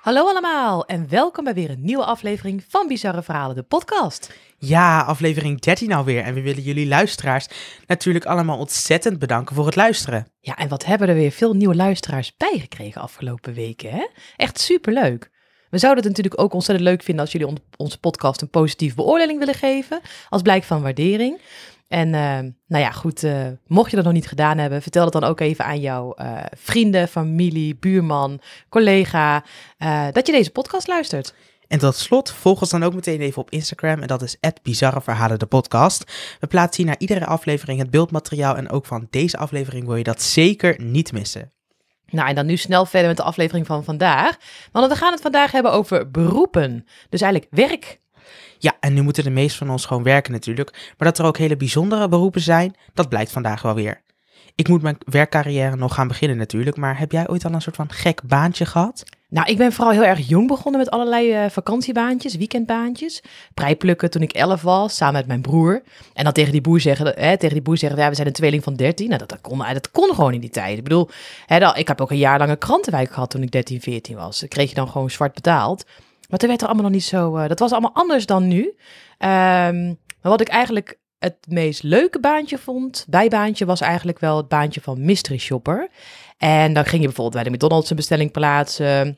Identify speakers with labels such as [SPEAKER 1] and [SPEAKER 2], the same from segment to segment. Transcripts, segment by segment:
[SPEAKER 1] Hallo allemaal en welkom bij weer een nieuwe aflevering van Bizarre Verhalen, de podcast.
[SPEAKER 2] Ja, aflevering 13 alweer. En we willen jullie luisteraars natuurlijk allemaal ontzettend bedanken voor het luisteren.
[SPEAKER 1] Ja, en wat hebben er weer veel nieuwe luisteraars bijgekregen afgelopen weken, hè? Echt superleuk. We zouden het natuurlijk ook ontzettend leuk vinden als jullie on- onze podcast een positieve beoordeling willen geven, als blijk van waardering. En eh, nou ja, goed, eh, mocht je dat nog niet gedaan hebben, vertel het dan ook even aan jouw eh, vrienden, familie, buurman, collega, eh, dat je deze podcast luistert.
[SPEAKER 2] En tot slot, volg ons dan ook meteen even op Instagram. En dat is Bizarre Verhalen de Podcast. We plaatsen hier na iedere aflevering het beeldmateriaal. En ook van deze aflevering wil je dat zeker niet missen.
[SPEAKER 1] Nou, en dan nu snel verder met de aflevering van vandaag. Want we gaan het vandaag hebben over beroepen. Dus eigenlijk werk.
[SPEAKER 2] Ja, en nu moeten de meesten van ons gewoon werken natuurlijk. Maar dat er ook hele bijzondere beroepen zijn, dat blijkt vandaag wel weer. Ik moet mijn werkcarrière nog gaan beginnen natuurlijk. Maar heb jij ooit al een soort van gek baantje gehad?
[SPEAKER 1] Nou, ik ben vooral heel erg jong begonnen met allerlei eh, vakantiebaantjes, weekendbaantjes. Prijplukken toen ik 11 was, samen met mijn broer. En dan tegen die boer zeggen, hè, tegen die boer zeggen ja, we zijn een tweeling van 13. Nou, dat, dat, kon, dat kon gewoon in die tijd. Ik bedoel, hè, dat, ik heb ook een jaar lang een krantenwijk gehad toen ik 13, 14 was. Dat kreeg je dan gewoon zwart betaald. Maar toen werd er allemaal nog niet zo... eh, dat was allemaal anders dan nu. Ehm, maar wat ik eigenlijk het meest leuke baantje vond, bijbaantje, was eigenlijk wel het baantje van mystery shopper. En dan ging je bijvoorbeeld bij de McDonald's een bestelling plaatsen.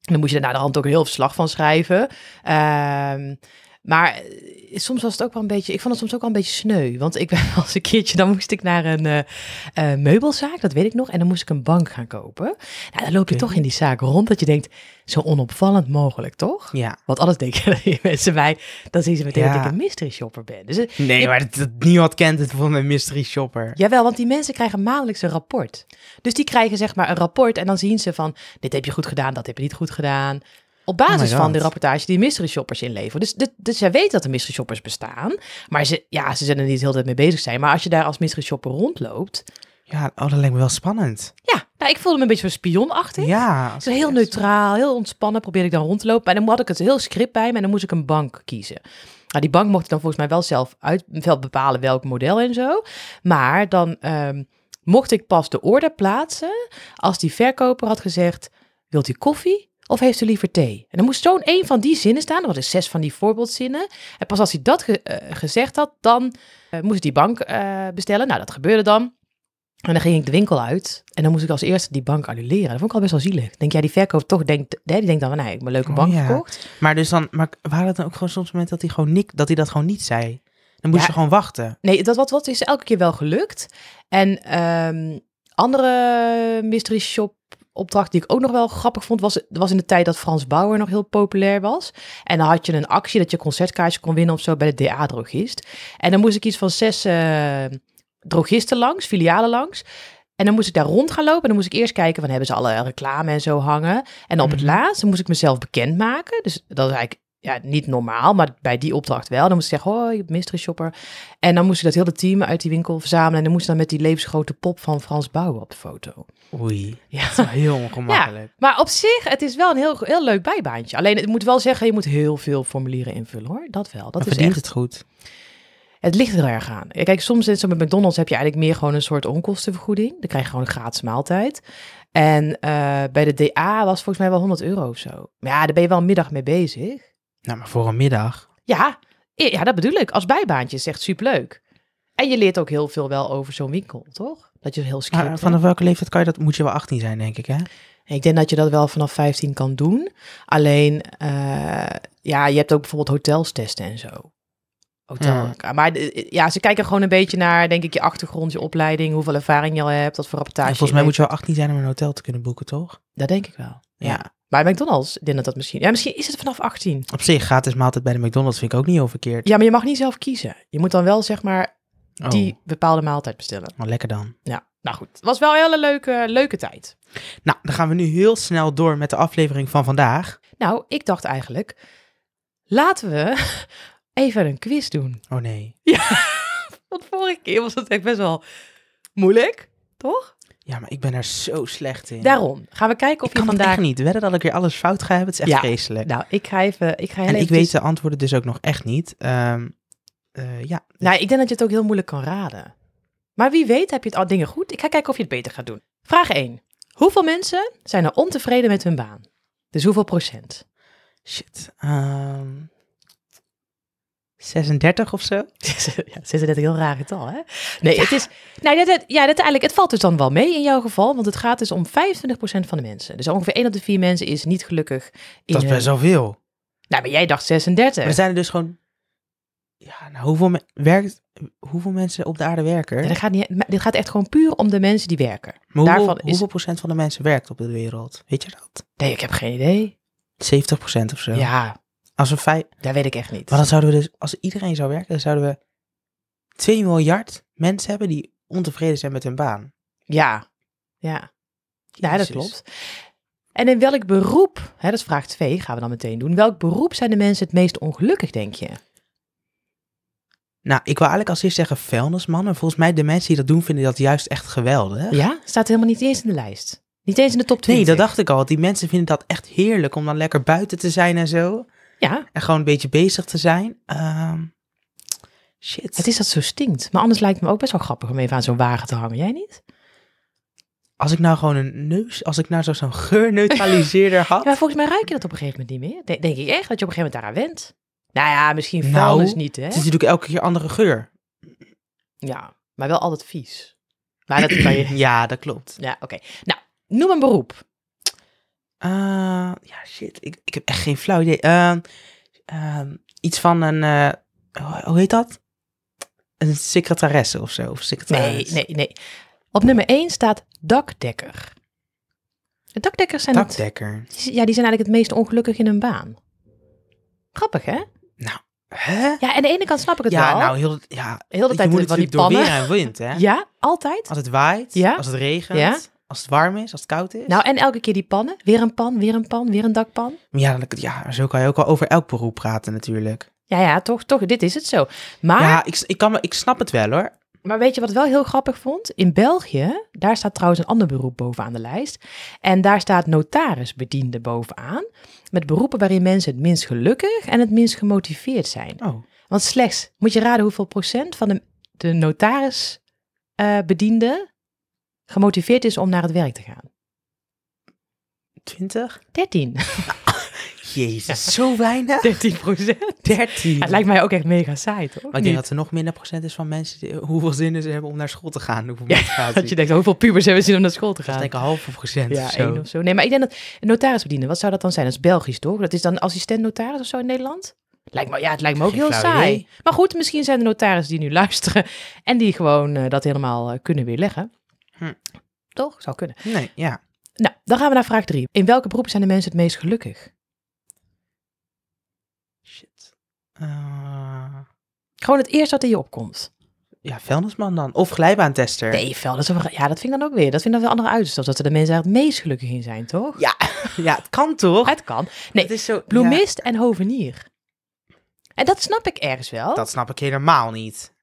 [SPEAKER 1] Dan moest je daarna de hand ook een heel verslag van schrijven. Ehm, maar eh, soms was het ook wel een beetje. Ik vond het soms ook wel een beetje sneu. Want ik ben wel eens een keertje. Dan moest ik naar een eh, eh, meubelzaak, dat weet ik nog. En dan moest ik een bank gaan kopen. Nou, dan loop je
[SPEAKER 2] Oké.
[SPEAKER 1] toch in die zaak rond. Dat je denkt, zo onopvallend mogelijk, toch?
[SPEAKER 2] Ja.
[SPEAKER 1] Want anders denken die mensen mij, dan zien ze meteen dat
[SPEAKER 2] Ja.
[SPEAKER 1] ik een mystery shopper ben. Dus, eh,
[SPEAKER 2] Nee, maar dat, dat, niemand kent het van een mystery shopper.
[SPEAKER 1] jawel, want die mensen krijgen maandelijks een rapport. Dus die krijgen zeg maar een rapport en dan zien ze van, dit heb je goed gedaan, dat heb je niet goed gedaan. Op basis
[SPEAKER 2] Oh my
[SPEAKER 1] van
[SPEAKER 2] God.
[SPEAKER 1] de rapportage die mystery shoppers inleveren. Dus, dus, dus zij weten dat er mystery shoppers bestaan. Maar ze, ja, ze zullen er niet heel de hele tijd mee bezig zijn. Maar als je daar als mystery shopper rondloopt.
[SPEAKER 2] Ja, oh, dat lijkt me wel spannend.
[SPEAKER 1] Ja, nou, ik voelde me een beetje zo'n spionachtig.
[SPEAKER 2] Ja. als
[SPEAKER 1] Zo heel
[SPEAKER 2] het is.
[SPEAKER 1] neutraal, heel ontspannen probeerde ik dan rond te lopen. En dan had ik het heel script bij me en dan moest ik een bank kiezen. Nou, die bank mocht ik dan volgens mij wel zelf uit, wel bepalen welk model en zo. Maar dan ehm, mocht ik pas de order plaatsen als die verkoper had gezegd... Wilt u koffie of heeft u liever thee? En dan moest zo'n één van die zinnen staan. Dat is zes van die voorbeeldzinnen. En pas als hij dat ge- eh, gezegd had, dan eh, moest ik die bank eh, bestellen. Nou, dat gebeurde dan. En dan ging ik de winkel uit. En dan moest ik als eerste die bank annuleren. Dat vond ik al best wel zielig. Denk jij, die verkoper toch denkt, hè, die denkt dan, nee, ik heb een leuke
[SPEAKER 2] Oh,
[SPEAKER 1] bank
[SPEAKER 2] ja.
[SPEAKER 1] verkocht.
[SPEAKER 2] Maar dus dan, maar waren het dan ook gewoon soms momenten dat hij gewoon niet, dat hij dat gewoon niet zei? Dan moest
[SPEAKER 1] Ja.
[SPEAKER 2] je gewoon wachten.
[SPEAKER 1] Nee, dat wat, wat is elke keer wel gelukt. En ehm, andere mystery shop opdracht die ik ook nog wel grappig vond, was, was in de tijd dat Frans Bauer nog heel populair was. En dan had je een actie dat je concertkaartje kon winnen of zo bij de DA-drogist. En dan moest ik iets van zes eh, drogisten langs, filialen langs. En dan moest ik daar rond gaan lopen. En dan moest ik eerst kijken van hebben ze alle reclame en zo hangen. En op het
[SPEAKER 2] Mhm.
[SPEAKER 1] laatst moest ik mezelf bekendmaken. Dus dat is eigenlijk ja, niet normaal, maar bij die opdracht wel. Dan moest ik zeggen, hoi, mystery shopper. En dan moest ik dat hele team uit die winkel verzamelen. En dan moest ik dan met die levensgrote pop van Frans Bauer op de foto.
[SPEAKER 2] Oei,
[SPEAKER 1] Ja.
[SPEAKER 2] dat is wel heel ongemakkelijk.
[SPEAKER 1] Maar op zich, het is wel een heel, heel leuk bijbaantje. Alleen, het moet wel zeggen, je moet heel veel formulieren invullen, hoor. Dat wel. Dat
[SPEAKER 2] Dat
[SPEAKER 1] is
[SPEAKER 2] verdient
[SPEAKER 1] echt
[SPEAKER 2] het goed.
[SPEAKER 1] het ligt er heel erg aan. Ja, Kijk, soms is het zo met McDonald's heb je eigenlijk meer gewoon een soort onkostenvergoeding. Dan krijg je gewoon een gratis maaltijd. En eh, bij de DA was volgens mij wel 100 euro of zo. Maar ja, daar ben je wel een middag mee bezig.
[SPEAKER 2] Nou, maar voor een middag.
[SPEAKER 1] Ja, i- ja dat bedoel ik. Als bijbaantje is echt superleuk. En je leert ook heel veel wel over zo'n winkel, toch? Dat je heel script
[SPEAKER 2] Maar
[SPEAKER 1] hebt.
[SPEAKER 2] vanaf welke leeftijd kan je dat? Moet je wel 18 zijn, denk ik, hè?
[SPEAKER 1] Ik denk dat je dat wel vanaf 15 kan doen. Alleen, eh, ja, je hebt ook bijvoorbeeld hotels testen en zo. Hotel.
[SPEAKER 2] Hmm.
[SPEAKER 1] Maar de- ja, ze kijken gewoon een beetje naar, denk ik, je achtergrond, je opleiding, hoeveel ervaring je al hebt, wat voor rapportage.
[SPEAKER 2] Volgens
[SPEAKER 1] je
[SPEAKER 2] mij
[SPEAKER 1] weet.
[SPEAKER 2] moet je wel 18 zijn om een hotel te kunnen boeken, toch?
[SPEAKER 1] Dat denk ik wel. Ja.
[SPEAKER 2] Ja.
[SPEAKER 1] Bij McDonald's, ik denk dat dat misschien. Ja, misschien is het vanaf 18.
[SPEAKER 2] Op zich, gratis maaltijd bij de McDonald's vind ik ook niet heel verkeerd.
[SPEAKER 1] Ja, maar je mag niet zelf kiezen. Je moet dan wel, zeg maar,
[SPEAKER 2] Oh,
[SPEAKER 1] die bepaalde maaltijd bestellen.
[SPEAKER 2] nou, lekker dan.
[SPEAKER 1] Ja. Nou goed, het was wel een hele leuke, leuke tijd.
[SPEAKER 2] Nou, dan gaan we nu heel snel door met de aflevering van vandaag.
[SPEAKER 1] Nou, ik dacht eigenlijk, laten we even een quiz doen.
[SPEAKER 2] Oh nee.
[SPEAKER 1] Want vorige keer was het echt best wel moeilijk, toch?
[SPEAKER 2] Ja, maar ik ben er zo slecht in.
[SPEAKER 1] Daarom gaan we kijken of
[SPEAKER 2] ik kan
[SPEAKER 1] je
[SPEAKER 2] het
[SPEAKER 1] vandaag.
[SPEAKER 2] echt niet. Wedden dat ik weer alles fout ga hebben, het is echt
[SPEAKER 1] Ja,
[SPEAKER 2] vreselijk.
[SPEAKER 1] Nou, ik ga even. Ik ga heel
[SPEAKER 2] en ik
[SPEAKER 1] even-
[SPEAKER 2] weet de antwoorden dus ook nog echt niet. Ehm, eh, ja,
[SPEAKER 1] Nou, ik denk dat je het ook heel moeilijk kan raden. Maar wie weet heb je het al dingen goed. Ik ga kijken of je het beter gaat doen. Vraag 1. Hoeveel mensen zijn er ontevreden met hun baan? Dus hoeveel procent?
[SPEAKER 2] Shit. ehm, 36 of zo?
[SPEAKER 1] ja, 36 heel raar getal, hè? Nee, het is... Nou, dat, dat- ja, dat eigenlijk, het valt dus dan wel mee in jouw geval, want het gaat dus om 25% van de mensen. Dus ongeveer 1 op de 4 mensen is niet gelukkig in
[SPEAKER 2] Dat is
[SPEAKER 1] hun-
[SPEAKER 2] best wel veel.
[SPEAKER 1] Nou, maar jij dacht 36.
[SPEAKER 2] Maar er zijn er dus gewoon... Ja, nou, hoeveel, me- werkt, hoeveel mensen op de aarde werken?
[SPEAKER 1] Ja, dat gaat niet, maar dit gaat echt gewoon puur om de mensen die werken.
[SPEAKER 2] Maar hoeveel,
[SPEAKER 1] daarvan is-
[SPEAKER 2] hoeveel procent van de mensen werkt op de wereld? Weet je dat?
[SPEAKER 1] Nee, ik heb geen idee.
[SPEAKER 2] 70 procent of zo.
[SPEAKER 1] Ja,
[SPEAKER 2] Als we vijf...
[SPEAKER 1] dat weet ik echt niet.
[SPEAKER 2] Maar dan zouden we dus... Als iedereen zou werken, dan zouden we 2 miljard mensen hebben die ontevreden zijn met hun baan.
[SPEAKER 1] Ja, ja. Ja, dat
[SPEAKER 2] Jezus.
[SPEAKER 1] klopt. En in welk beroep, hè, dat is vraag 2, gaan we dan meteen doen. Welk beroep zijn de mensen het meest ongelukkig, denk je?
[SPEAKER 2] Nou, ik wil eigenlijk als eerst zeggen vuilnismannen. Volgens mij de mensen die dat doen, vinden dat juist echt geweldig.
[SPEAKER 1] Ja, staat helemaal niet eens in de lijst. Niet eens in de top 20.
[SPEAKER 2] Nee, dat dacht ik al. Want die mensen vinden dat echt heerlijk om dan lekker buiten te zijn en zo.
[SPEAKER 1] Ja,
[SPEAKER 2] En gewoon een beetje bezig te zijn. Ehm, shit.
[SPEAKER 1] het is dat zo stinkt. Maar anders lijkt het me ook best wel grappig om even aan zo'n wagen te hangen. Jij niet?
[SPEAKER 2] Als ik nou gewoon een neus, als ik nou zo- zo'n geurneutraliseerder had.
[SPEAKER 1] Ja, maar volgens mij ruik je dat op een gegeven moment niet meer. Denk, denk ik echt dat je op een gegeven moment daaraan went. Nou ja, misschien
[SPEAKER 2] Nou,
[SPEAKER 1] vuilnis niet, hè?
[SPEAKER 2] Het is natuurlijk elke keer andere geur.
[SPEAKER 1] Ja, maar wel altijd vies. Maar dat kan je...
[SPEAKER 2] Ja, dat klopt.
[SPEAKER 1] Ja, oké. Nou, noem een beroep.
[SPEAKER 2] Eh, ja, shit. Ik, ik heb echt geen flauw idee. Ehm, ehm, iets van een, eh, hoe- hoe heet dat? Een secretaresse of zo. Of secretaris.
[SPEAKER 1] Nee, nee, nee. Op nummer 1 staat dakdekker. De dakdekkers zijn het-
[SPEAKER 2] Dakdekker.
[SPEAKER 1] die- ja, die zijn eigenlijk het meest ongelukkig in hun baan. Grappig, hè?
[SPEAKER 2] Hè?
[SPEAKER 1] Ja, aan de ene kant snap ik het
[SPEAKER 2] Ja,
[SPEAKER 1] wel.
[SPEAKER 2] nou, heel, de- ja,
[SPEAKER 1] Heel de
[SPEAKER 2] je
[SPEAKER 1] tijd van
[SPEAKER 2] moet
[SPEAKER 1] die
[SPEAKER 2] natuurlijk door
[SPEAKER 1] pannen.
[SPEAKER 2] weer en wind, hè?
[SPEAKER 1] Ja, altijd.
[SPEAKER 2] Als het waait,
[SPEAKER 1] Ja.
[SPEAKER 2] als het regent,
[SPEAKER 1] Ja.
[SPEAKER 2] als het warm is, als het koud is.
[SPEAKER 1] Nou, en elke keer die pannen. Weer een pan, weer een pan, weer een dakpan.
[SPEAKER 2] Maar ja, dan- ja, zo kan je ook wel over elk beroep praten natuurlijk.
[SPEAKER 1] Ja, ja, toch, toch. Dit is het zo. Maar,
[SPEAKER 2] Ja, ik, ik, kan, me- ik snap het wel hoor.
[SPEAKER 1] maar weet je wat ik wel heel grappig vond? In België, daar staat trouwens een ander beroep bovenaan de lijst. En daar staat notarisbediende bovenaan. Met beroepen waarin mensen het minst gelukkig en het minst gemotiveerd zijn.
[SPEAKER 2] Oh.
[SPEAKER 1] Want slechts, moet je raden hoeveel procent van de, de notarisbediende gemotiveerd is om naar het werk te gaan?
[SPEAKER 2] 20?
[SPEAKER 1] 13.
[SPEAKER 2] Jezus, zo weinig?
[SPEAKER 1] 13 procent?
[SPEAKER 2] 13.
[SPEAKER 1] Het lijkt mij ook echt mega saai, toch?
[SPEAKER 2] maar ik
[SPEAKER 1] Niet?
[SPEAKER 2] denk dat er nog minder procent is van mensen die, hoeveel zin ze hebben om naar school te gaan. Hoeveel motivatie.
[SPEAKER 1] Dat je denkt, hoeveel pubers hebben zin om naar school te
[SPEAKER 2] dat is
[SPEAKER 1] gaan?
[SPEAKER 2] denk ik een half procent
[SPEAKER 1] ja,
[SPEAKER 2] of zo.
[SPEAKER 1] één of zo. Nee, maar ik denk dat een notarisbediende, wat zou dat dan zijn? Dat is Belgisch, toch? Dat is dan assistent notaris of zo in Nederland? Lijkt me, ja, het lijkt me ook
[SPEAKER 2] Geen
[SPEAKER 1] heel
[SPEAKER 2] flauw
[SPEAKER 1] saai.
[SPEAKER 2] idee.
[SPEAKER 1] Maar goed, misschien zijn er notarissen die nu luisteren en die gewoon eh, dat helemaal eh, kunnen weerleggen.
[SPEAKER 2] Hm.
[SPEAKER 1] Toch? Zou kunnen.
[SPEAKER 2] Nee, ja.
[SPEAKER 1] Nou, dan gaan we naar vraag drie. In welke beroepen zijn de mensen het meest gelukkig?
[SPEAKER 2] Shit. Eh,
[SPEAKER 1] Gewoon het eerste wat in je opkomt.
[SPEAKER 2] ja, vuilnisman dan. Of glijbaantester.
[SPEAKER 1] Nee, vel, dat is wel- ja, dat vind ik dan ook weer. Dat vind ik dan weer andere uitstoot. Dat er de mensen daar het meest gelukkig in zijn, toch?
[SPEAKER 2] Ja, ja, het kan toch?
[SPEAKER 1] Het kan. Nee,
[SPEAKER 2] Het is zo, ja,
[SPEAKER 1] Bloemist en hovenier. En dat snap ik ergens wel.
[SPEAKER 2] dat snap ik helemaal niet.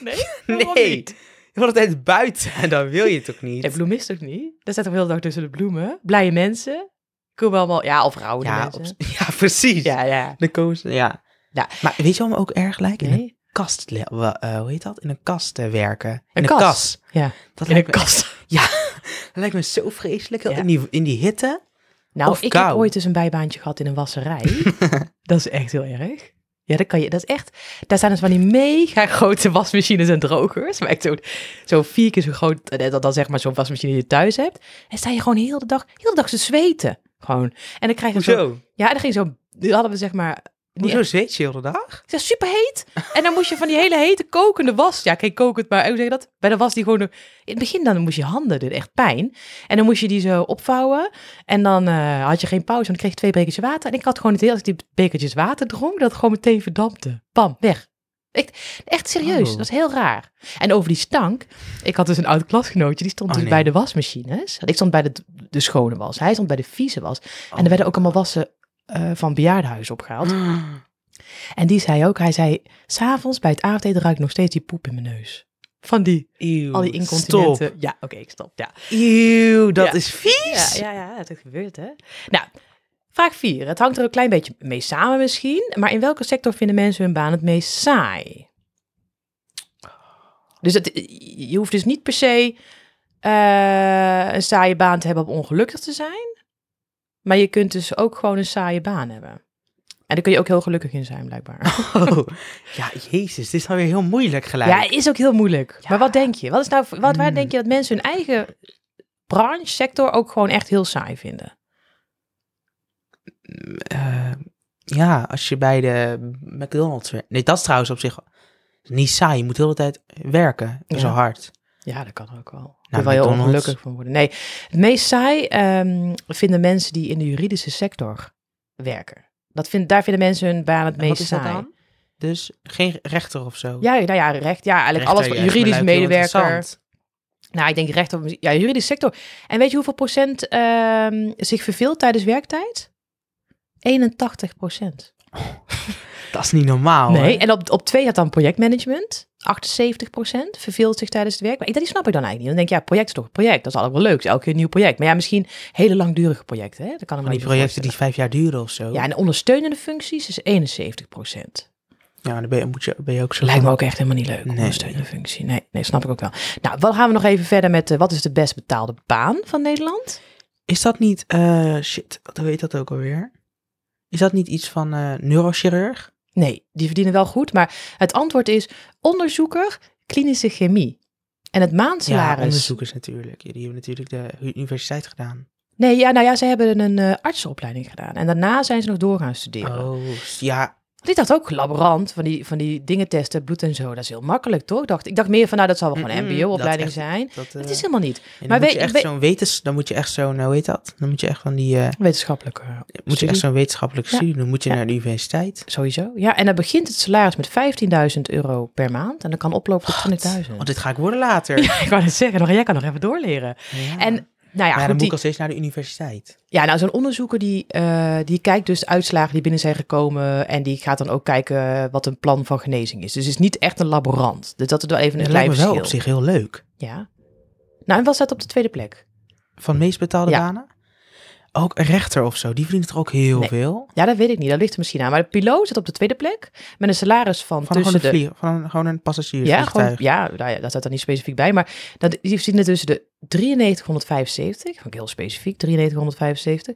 [SPEAKER 1] Nee?
[SPEAKER 2] Nee. Je wordt altijd buiten en dan wil je het ook niet.
[SPEAKER 1] Nee, bloemist ook niet. Daar staat toch heel de dag tussen de bloemen. Blije mensen. Komen allemaal, ja, of rouwende
[SPEAKER 2] ja,
[SPEAKER 1] mensen.
[SPEAKER 2] op- ja, precies.
[SPEAKER 1] Ja, ja.
[SPEAKER 2] De koos, ja.
[SPEAKER 1] Ja.
[SPEAKER 2] Maar weet je wat me ook erg lijkt? In een
[SPEAKER 1] Nee?
[SPEAKER 2] kast, le- wel, eh, hoe heet dat? In een kast eh, werken. In
[SPEAKER 1] Een
[SPEAKER 2] kas.
[SPEAKER 1] kas. Ja.
[SPEAKER 2] Dat
[SPEAKER 1] In een
[SPEAKER 2] lijkt, me,
[SPEAKER 1] kast.
[SPEAKER 2] dat lijkt me zo vreselijk.
[SPEAKER 1] Ja.
[SPEAKER 2] In, die, in die hitte.
[SPEAKER 1] Nou,
[SPEAKER 2] Of
[SPEAKER 1] ik heb
[SPEAKER 2] kou.
[SPEAKER 1] ooit dus een bijbaantje gehad in een wasserij. dat is echt heel erg. Ja, dat kan je. Dat is echt. Daar staan dus van die mega grote wasmachines en drogers. Maar echt zo, zo vier keer zo groot. eh, Dat dan zeg maar zo'n wasmachine die je thuis hebt. En sta je gewoon heel de dag, heel de dag te zweten. Gewoon. En dan krijg je zo.
[SPEAKER 2] Hoezo?
[SPEAKER 1] Ja, dan ging zo. Die hadden we zeg maar. niet
[SPEAKER 2] Hoezo zweet je heel de dag?
[SPEAKER 1] het is super heet. En dan moest je van die hele hete kokende was. Ja, kijk, kokend, maar hoe zeg je dat? Bij de was die gewoon. nog- In het begin dan moest je handen, dit echt pijn. En dan moest je die zo opvouwen. En dan eh, had je geen pauze, want ik kreeg je twee bekertjes water. En ik had gewoon het idee als ik die bekertjes water dronk, dat het gewoon meteen verdampte. Bam, weg. Echt, echt serieus,
[SPEAKER 2] Oh.
[SPEAKER 1] dat is heel raar. En over die stank, ik had dus een oud klasgenootje, die stond
[SPEAKER 2] Oh,
[SPEAKER 1] dus
[SPEAKER 2] nee.
[SPEAKER 1] bij de wasmachines. Ik stond bij de, de schone was, hij stond bij de vieze was. En
[SPEAKER 2] Oh.
[SPEAKER 1] er werden ook allemaal wassen eh, van bejaardenhuis opgehaald. En die zei ook, hij zei, s'avonds bij het avondeten ruik ik nog steeds die poep in mijn neus. Van die,
[SPEAKER 2] Eeuw,
[SPEAKER 1] al die incontinenten. Ja, oké, ik stop, ja.
[SPEAKER 2] Stop. Eeuw, dat
[SPEAKER 1] Ja.
[SPEAKER 2] is vies.
[SPEAKER 1] Ja, ja, ja, dat gebeurt, hè. Nou, vraag 4. Het hangt er een klein beetje mee samen misschien, maar in welke sector vinden mensen hun baan het meest saai? Dus het, je hoeft dus niet per se eh, een saaie baan te hebben om ongelukkig te zijn. Maar je kunt dus ook gewoon een saaie baan hebben. En daar kun je ook heel gelukkig in zijn, blijkbaar.
[SPEAKER 2] Oh, ja, jezus, dit is alweer heel moeilijk gelijk.
[SPEAKER 1] Ja, is ook heel moeilijk. Maar wat denk je? Wat is nou, wat, waar
[SPEAKER 2] Hmm.
[SPEAKER 1] denk je dat mensen hun eigen branche, sector ook gewoon echt heel saai vinden?
[SPEAKER 2] Eh, ja, als je bij de McDonald's werkt. Nee, dat is trouwens op zich niet saai. Je moet de hele tijd werken,
[SPEAKER 1] Ja.
[SPEAKER 2] zo hard.
[SPEAKER 1] Ja, dat kan ook wel. Daar
[SPEAKER 2] Nou,
[SPEAKER 1] wel heel
[SPEAKER 2] McDonald's.
[SPEAKER 1] ongelukkig van worden. Nee, het meest saai ehm, vinden mensen die in de juridische sector werken. Dat vind, daar vinden mensen hun baan het
[SPEAKER 2] En wat
[SPEAKER 1] meest
[SPEAKER 2] is dat
[SPEAKER 1] saai.
[SPEAKER 2] dan? Dus geen rechter of zo.
[SPEAKER 1] Ja, nou ja, recht. Ja, eigenlijk
[SPEAKER 2] Rechter,
[SPEAKER 1] alles.
[SPEAKER 2] ja,
[SPEAKER 1] Wat,
[SPEAKER 2] maar
[SPEAKER 1] juridisch
[SPEAKER 2] lijkt heel
[SPEAKER 1] medewerker.
[SPEAKER 2] interessant.
[SPEAKER 1] Nou, ik denk recht op ja, juridische sector. En weet je hoeveel procent ehm, zich verveelt tijdens werktijd? 81 procent.
[SPEAKER 2] Dat is niet normaal. hè?
[SPEAKER 1] nee, en op, op twee had dan projectmanagement. 78 procent verveelt zich tijdens het werk. Maar ik- die snap ik dan eigenlijk niet. Dan denk je, ja, project is toch een project. Dat is altijd wel leuk. Het is elke keer een nieuw project. Maar ja, misschien hele langdurige projecten. Hè? Dat kan ik me
[SPEAKER 2] Van die
[SPEAKER 1] niet
[SPEAKER 2] projecten die
[SPEAKER 1] voorstellen.
[SPEAKER 2] vijf jaar duren of zo.
[SPEAKER 1] Ja, en de ondersteunende functies is 71 procent.
[SPEAKER 2] Ja, dan ben je, moet je, ben je ook zo.
[SPEAKER 1] Lijkt me ook echt helemaal niet leuk,
[SPEAKER 2] Nee.
[SPEAKER 1] ondersteunende functie. Nee, nee, snap ik ook wel. Nou, wat gaan we nog even verder met eh, wat is de best betaalde baan van Nederland?
[SPEAKER 2] Is dat niet, eh, shit, wat heet dat ook alweer? Is dat niet iets van eh, neurochirurg?
[SPEAKER 1] Nee, die verdienen wel goed, maar het antwoord is onderzoeker klinische chemie. En het
[SPEAKER 2] Ja,
[SPEAKER 1] maandsalaris.
[SPEAKER 2] onderzoekers natuurlijk. Ja, Die hebben natuurlijk de universiteit gedaan.
[SPEAKER 1] nee, ja, nou ja, ze hebben een eh, artsenopleiding gedaan. En daarna zijn ze nog door gaan studeren.
[SPEAKER 2] Oh, ja.
[SPEAKER 1] Want ik dacht ook, laborant, van die, van die dingen testen, bloed en zo, dat is heel makkelijk, toch? Ik dacht, ik dacht meer van, nou, dat zal wel gewoon een
[SPEAKER 2] Mm-mm,
[SPEAKER 1] mbo-opleiding
[SPEAKER 2] dat echt-
[SPEAKER 1] zijn.
[SPEAKER 2] Dat,
[SPEAKER 1] Het
[SPEAKER 2] eh,
[SPEAKER 1] is helemaal niet.
[SPEAKER 2] en dan
[SPEAKER 1] maar
[SPEAKER 2] moet
[SPEAKER 1] weet-
[SPEAKER 2] je echt
[SPEAKER 1] weet-
[SPEAKER 2] zo'n wetens, dan moet je echt zo'n, nou, hoe heet dat? Dan moet je echt van die, eh,
[SPEAKER 1] Wetenschappelijk. eh,
[SPEAKER 2] moet je
[SPEAKER 1] studie.
[SPEAKER 2] echt zo'n wetenschappelijke
[SPEAKER 1] Ja.
[SPEAKER 2] studie doen. Moet je
[SPEAKER 1] Ja.
[SPEAKER 2] naar de universiteit.
[SPEAKER 1] Sowieso. Ja, en dan begint het salaris met 15.000 euro per maand. En dan kan oplopen tot 20.000.
[SPEAKER 2] Oh, dit ga ik worden later. Ja.
[SPEAKER 1] Ik wou het zeggen, nog, jij kan nog even doorleren. En nou ja,
[SPEAKER 2] Maar ja, dan
[SPEAKER 1] goed, die,
[SPEAKER 2] moet ik al steeds naar de universiteit.
[SPEAKER 1] ja, nou, zo'n onderzoeker die, eh, die kijkt dus uitslagen die binnen zijn gekomen. En die gaat dan ook kijken wat een plan van genezing is. Dus het is niet echt een laborant. Dus dat is wel even een
[SPEAKER 2] Dat
[SPEAKER 1] klein
[SPEAKER 2] lijkt me wel
[SPEAKER 1] verschil.
[SPEAKER 2] op zich heel leuk.
[SPEAKER 1] Ja. Nou, en wat staat op de tweede plek?
[SPEAKER 2] Van meest betaalde
[SPEAKER 1] Ja.
[SPEAKER 2] banen? Ook een rechter of zo, die verdient er ook heel
[SPEAKER 1] Nee.
[SPEAKER 2] veel.
[SPEAKER 1] Ja, dat weet ik niet. Dat ligt er misschien aan. Maar de piloot zit op de tweede plek met een salaris van,
[SPEAKER 2] Van gewoon
[SPEAKER 1] tussen
[SPEAKER 2] een,
[SPEAKER 1] de...
[SPEAKER 2] vlieg, van een, gewoon een
[SPEAKER 1] Ja, gewoon,
[SPEAKER 2] passagiersvliegtuig.
[SPEAKER 1] ja nou ja, dat staat er niet specifiek bij. Maar dat, die zien er tussen de 9375, vond ik heel specifiek, 9375,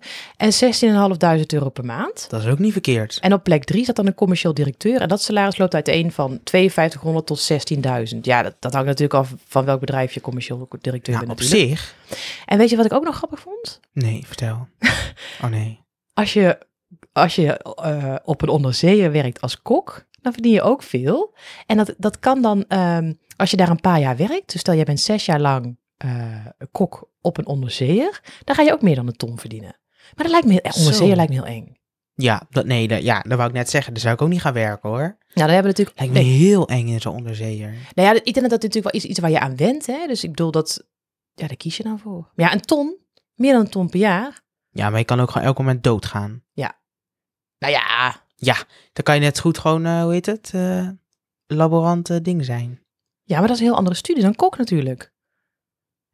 [SPEAKER 1] en 16.500 euro per maand.
[SPEAKER 2] Dat is ook niet verkeerd.
[SPEAKER 1] En op plek 3 zat dan een commercieel directeur. En dat salaris loopt uiteen van 5200 tot 16.000. Ja, dat, dat hangt natuurlijk af van welk bedrijf je commercieel directeur
[SPEAKER 2] Nou,
[SPEAKER 1] bent.
[SPEAKER 2] op
[SPEAKER 1] natuurlijk.
[SPEAKER 2] zich.
[SPEAKER 1] En weet je wat ik ook nog grappig vond?
[SPEAKER 2] Nee, vertel. Oh nee.
[SPEAKER 1] Als je, als je eh, op een onderzeeër werkt als kok, dan verdien je ook veel. En dat, dat kan dan, ehm, als je daar een paar jaar werkt, dus stel jij bent zes jaar lang eh, kok op een onderzeeër, dan ga je ook meer dan een ton verdienen. Maar dat lijkt me, eh, onderzeeër
[SPEAKER 2] Zo.
[SPEAKER 1] lijkt me heel eng.
[SPEAKER 2] Ja, dat, nee, dat, ja, dat wou ik net zeggen. Daar zou ik ook niet gaan werken hoor.
[SPEAKER 1] Nou, dan hebben we natuurlijk...
[SPEAKER 2] Lijkt me
[SPEAKER 1] Nee.
[SPEAKER 2] heel eng in zo'n onderzeeër.
[SPEAKER 1] Nou ja, ik denk dat dat natuurlijk wel is iets waar je aan went. Hè? Dus ik bedoel, dat, ja, daar kies je dan voor. Maar ja, een ton, meer dan een ton per jaar.
[SPEAKER 2] Ja, maar je kan ook gewoon elk moment doodgaan.
[SPEAKER 1] Nou ja,
[SPEAKER 2] Dan kan je net zo goed gewoon, eh, hoe heet het, eh laborant eh, ding zijn.
[SPEAKER 1] ja, maar dat is een heel andere studie dan kok natuurlijk.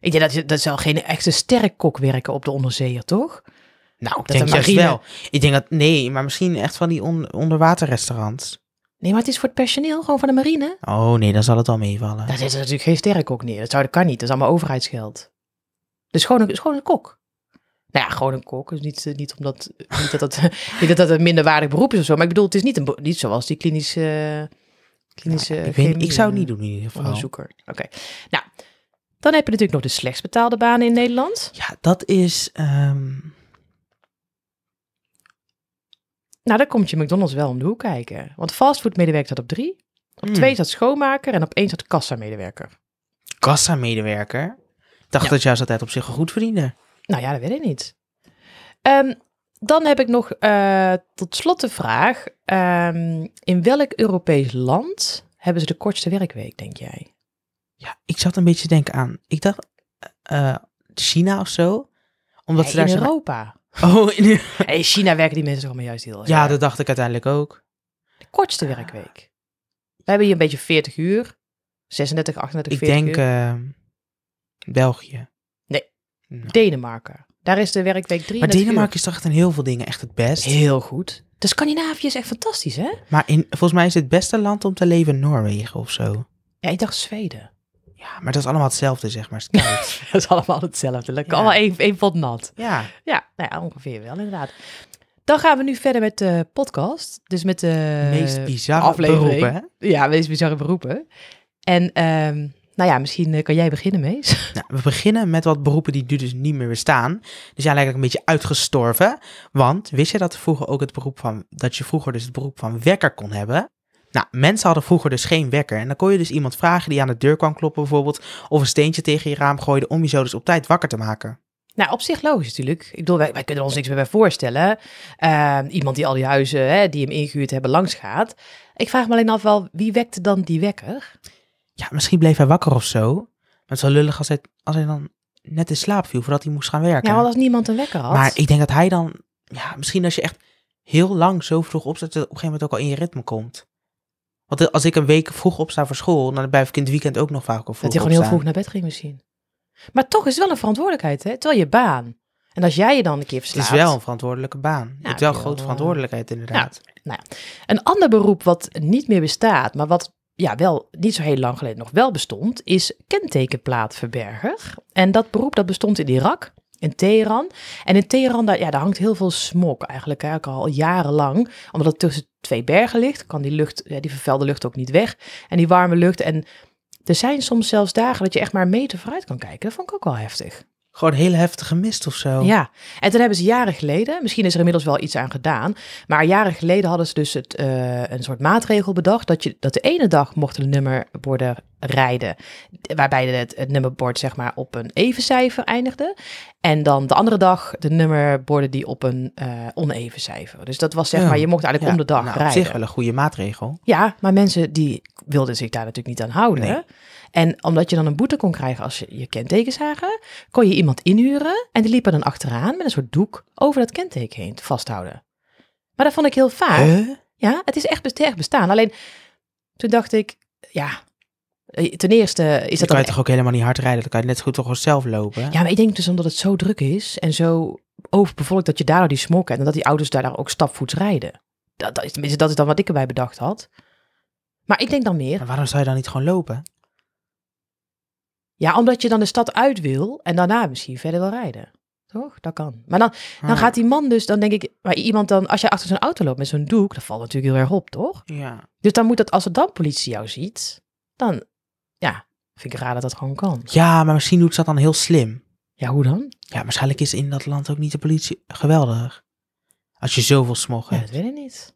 [SPEAKER 1] Ik denk dat, je- dat zal geen echte sterk kok werken op de onderzeeër, toch?
[SPEAKER 2] Nou, ik
[SPEAKER 1] Dat
[SPEAKER 2] denk
[SPEAKER 1] een
[SPEAKER 2] juist
[SPEAKER 1] marine-
[SPEAKER 2] wel. Ik denk dat, nee, maar misschien echt van die on- onderwaterrestaurants.
[SPEAKER 1] Nee, maar het is voor het personeel, gewoon van de marine.
[SPEAKER 2] Oh nee, dan zal het wel meevallen.
[SPEAKER 1] Nou, Daar zit er natuurlijk geen sterrenkok neer. Dat, zou, dat kan niet, dat is allemaal overheidsgeld. Dus gewoon een, gewoon een kok. Nou ja, gewoon een kok. Dus niet, eh, niet, omdat, niet, dat dat, niet dat dat een minderwaardig beroep is of zo. Maar ik bedoel, het is niet, een, be- niet zoals die klinische... klinische
[SPEAKER 2] ik, weet, ik
[SPEAKER 1] chemie,
[SPEAKER 2] zou het
[SPEAKER 1] eh.
[SPEAKER 2] niet doen in ieder geval.
[SPEAKER 1] Onderzoeker. Oké. Nou, dan heb je natuurlijk nog de slechts betaalde banen in Nederland.
[SPEAKER 2] Ja, dat is. ehm,
[SPEAKER 1] Nou, daar komt je McDonald's wel om de hoek kijken. Want fastfoodmedewerker zat op drie. Op
[SPEAKER 2] Hmm.
[SPEAKER 1] twee zat schoonmaker en op één zat kassamedewerker.
[SPEAKER 2] kassa-medewerker. Ik dacht
[SPEAKER 1] Ja.
[SPEAKER 2] dat juist altijd op zich wel goed verdiende.
[SPEAKER 1] Nou ja, dat weet ik niet. Ehm, dan heb ik nog eh, tot slot de vraag. ehm, in welk Europees land hebben ze de kortste werkweek, denk jij?
[SPEAKER 2] Ja, ik zat een beetje te denken aan. Ik dacht eh, China of zo. Omdat
[SPEAKER 1] Ja,
[SPEAKER 2] ze daar
[SPEAKER 1] in
[SPEAKER 2] zijn-
[SPEAKER 1] Europa.
[SPEAKER 2] Oh, in-
[SPEAKER 1] In China werken die mensen toch allemaal juist heel erg.
[SPEAKER 2] ja, dat dacht ik uiteindelijk ook.
[SPEAKER 1] De kortste werkweek. We hebben hier een beetje 40 uur. 36, 38,
[SPEAKER 2] Ik
[SPEAKER 1] 40 uur.
[SPEAKER 2] denk ehm, België.
[SPEAKER 1] Nee.
[SPEAKER 2] Nou.
[SPEAKER 1] Denemarken. Daar is de werkweek 3.
[SPEAKER 2] Maar Denemarken is toch echt in heel veel dingen echt het best.
[SPEAKER 1] heel goed. De Scandinavië is echt fantastisch, hè?
[SPEAKER 2] Maar in, volgens mij is het beste land om te leven Noorwegen of zo.
[SPEAKER 1] Ja, ik dacht Zweden.
[SPEAKER 2] Ja, maar dat is allemaal hetzelfde, zeg maar. Het is koud.
[SPEAKER 1] Dat is allemaal hetzelfde. Lekker
[SPEAKER 2] Ja.
[SPEAKER 1] allemaal één, één pot nat.
[SPEAKER 2] ja.
[SPEAKER 1] Ja, nou ja, ongeveer wel inderdaad. Dan gaan we nu verder met de podcast. Dus met de
[SPEAKER 2] meest bizarre
[SPEAKER 1] Eh, aflevering.
[SPEAKER 2] beroepen, hè?
[SPEAKER 1] Ja, meest bizarre beroepen. En ehm, nou ja, misschien eh, kan jij beginnen, Mees.
[SPEAKER 2] Nou, we beginnen met wat beroepen die nu dus niet meer bestaan. Dus ja, lijkt ook een beetje uitgestorven. Want wist je dat vroeger ook het beroep van dat je vroeger dus het beroep van wekker kon hebben? Nou, mensen hadden vroeger dus geen wekker. En dan kon je dus iemand vragen die aan de deur kwam kloppen bijvoorbeeld. Of een steentje tegen je raam gooide om je zo dus op tijd wakker te maken.
[SPEAKER 1] Nou, op zich logisch natuurlijk. Ik bedoel, wij, wij kunnen ons niks meer bij voorstellen. Eh, iemand die al die huizen hè, die hem ingehuurd hebben langs gaat. Ik vraag me alleen af wel, wie wekte dan die wekker?
[SPEAKER 2] Ja, misschien bleef hij wakker of zo. Maar het is wel lullig als hij, als hij dan net in slaap viel voordat hij moest gaan werken.
[SPEAKER 1] Ja, want als niemand een wekker had.
[SPEAKER 2] Maar ik denk dat hij dan, ja, misschien als je echt heel lang zo vroeg opstaat, dat het op een gegeven moment ook al in je ritme komt. Want als ik een week vroeg opsta voor school, dan blijf ik in het weekend ook nog vaak al vroeg
[SPEAKER 1] Dat je gewoon heel
[SPEAKER 2] opstaan.
[SPEAKER 1] vroeg naar bed ging misschien. Maar toch is het wel een verantwoordelijkheid, hè? Terwijl je baan. En als jij je dan een keer
[SPEAKER 2] Dus Het
[SPEAKER 1] verslaat.
[SPEAKER 2] is wel een verantwoordelijke baan. je hebt wel
[SPEAKER 1] wel,
[SPEAKER 2] grote
[SPEAKER 1] eh,
[SPEAKER 2] verantwoordelijkheid inderdaad.
[SPEAKER 1] Een ander beroep wat niet meer bestaat, maar wat ja, wel niet zo heel lang geleden nog wel bestond, is kentekenplaatverberger. En dat beroep dat bestond in Irak, in Teheran. En in Teheran, daar, ja, daar hangt heel veel smok eigenlijk, eigenlijk al jarenlang. Omdat het tussen twee bergen ligt, kan die lucht, ja, die vervuilde lucht ook niet weg. En die warme lucht. En er zijn soms zelfs dagen dat je echt maar een meter vooruit kan kijken. Dat vond ik ook wel heftig.
[SPEAKER 2] Gewoon een hele heftige mist of zo.
[SPEAKER 1] Ja, en toen hebben ze jaren geleden, misschien is er inmiddels wel iets aan gedaan, maar jaren geleden hadden ze dus het, eh, een soort maatregel bedacht dat, je, dat de ene dag mochten de nummerborden rijden, waarbij het, het nummerbord zeg maar op een even cijfer eindigde, en dan de andere dag de nummerborden die op een eh, oneven cijfer. Dus dat was zeg
[SPEAKER 2] Ja.
[SPEAKER 1] maar, je mocht eigenlijk
[SPEAKER 2] Ja,
[SPEAKER 1] om de dag
[SPEAKER 2] nou, op
[SPEAKER 1] rijden.
[SPEAKER 2] zich wel een goede maatregel.
[SPEAKER 1] Ja, maar mensen die wilden zich daar natuurlijk niet aan houden.
[SPEAKER 2] Nee.
[SPEAKER 1] En omdat je dan een boete kon krijgen als je je kenteken zagen, kon je iemand inhuren en die liep er dan achteraan met een soort doek over dat kenteken heen te vasthouden. Maar dat vond ik heel vaag.
[SPEAKER 2] Huh?
[SPEAKER 1] Ja, het is echt, best- echt bestaan. Alleen toen dacht ik, ja, eh, ten eerste is
[SPEAKER 2] Dan
[SPEAKER 1] dat
[SPEAKER 2] kan
[SPEAKER 1] dan...
[SPEAKER 2] je toch ook helemaal niet hard rijden. Dan kan je net zo goed toch gewoon zelf lopen.
[SPEAKER 1] Ja, maar ik denk dus omdat het zo druk is en zo overbevolkt dat je daardoor die smok hebt en dat die auto's daar ook stapvoets rijden. Dat, dat, is, tenminste, dat is dan wat ik erbij bedacht had. Maar ik denk dan meer,
[SPEAKER 2] Maar waarom zou je dan niet gewoon lopen?
[SPEAKER 1] Ja, omdat je dan de stad uit wil en daarna misschien verder wil rijden. Toch? Dat kan. Maar dan, dan
[SPEAKER 2] Ah,
[SPEAKER 1] gaat die man dus, dan denk ik, maar iemand dan, als je achter zo'n auto loopt met zo'n doek, dat valt natuurlijk heel erg op, toch?
[SPEAKER 2] Ja.
[SPEAKER 1] Dus dan moet dat, als er dan politie jou ziet, dan, ja, vind ik raar dat dat gewoon kan.
[SPEAKER 2] ja, maar misschien doet ze dat dan heel slim.
[SPEAKER 1] Ja, hoe dan?
[SPEAKER 2] Ja, waarschijnlijk is in dat land ook niet de politie geweldig. Als je zoveel smog
[SPEAKER 1] Ja,
[SPEAKER 2] hebt.
[SPEAKER 1] dat weet ik niet.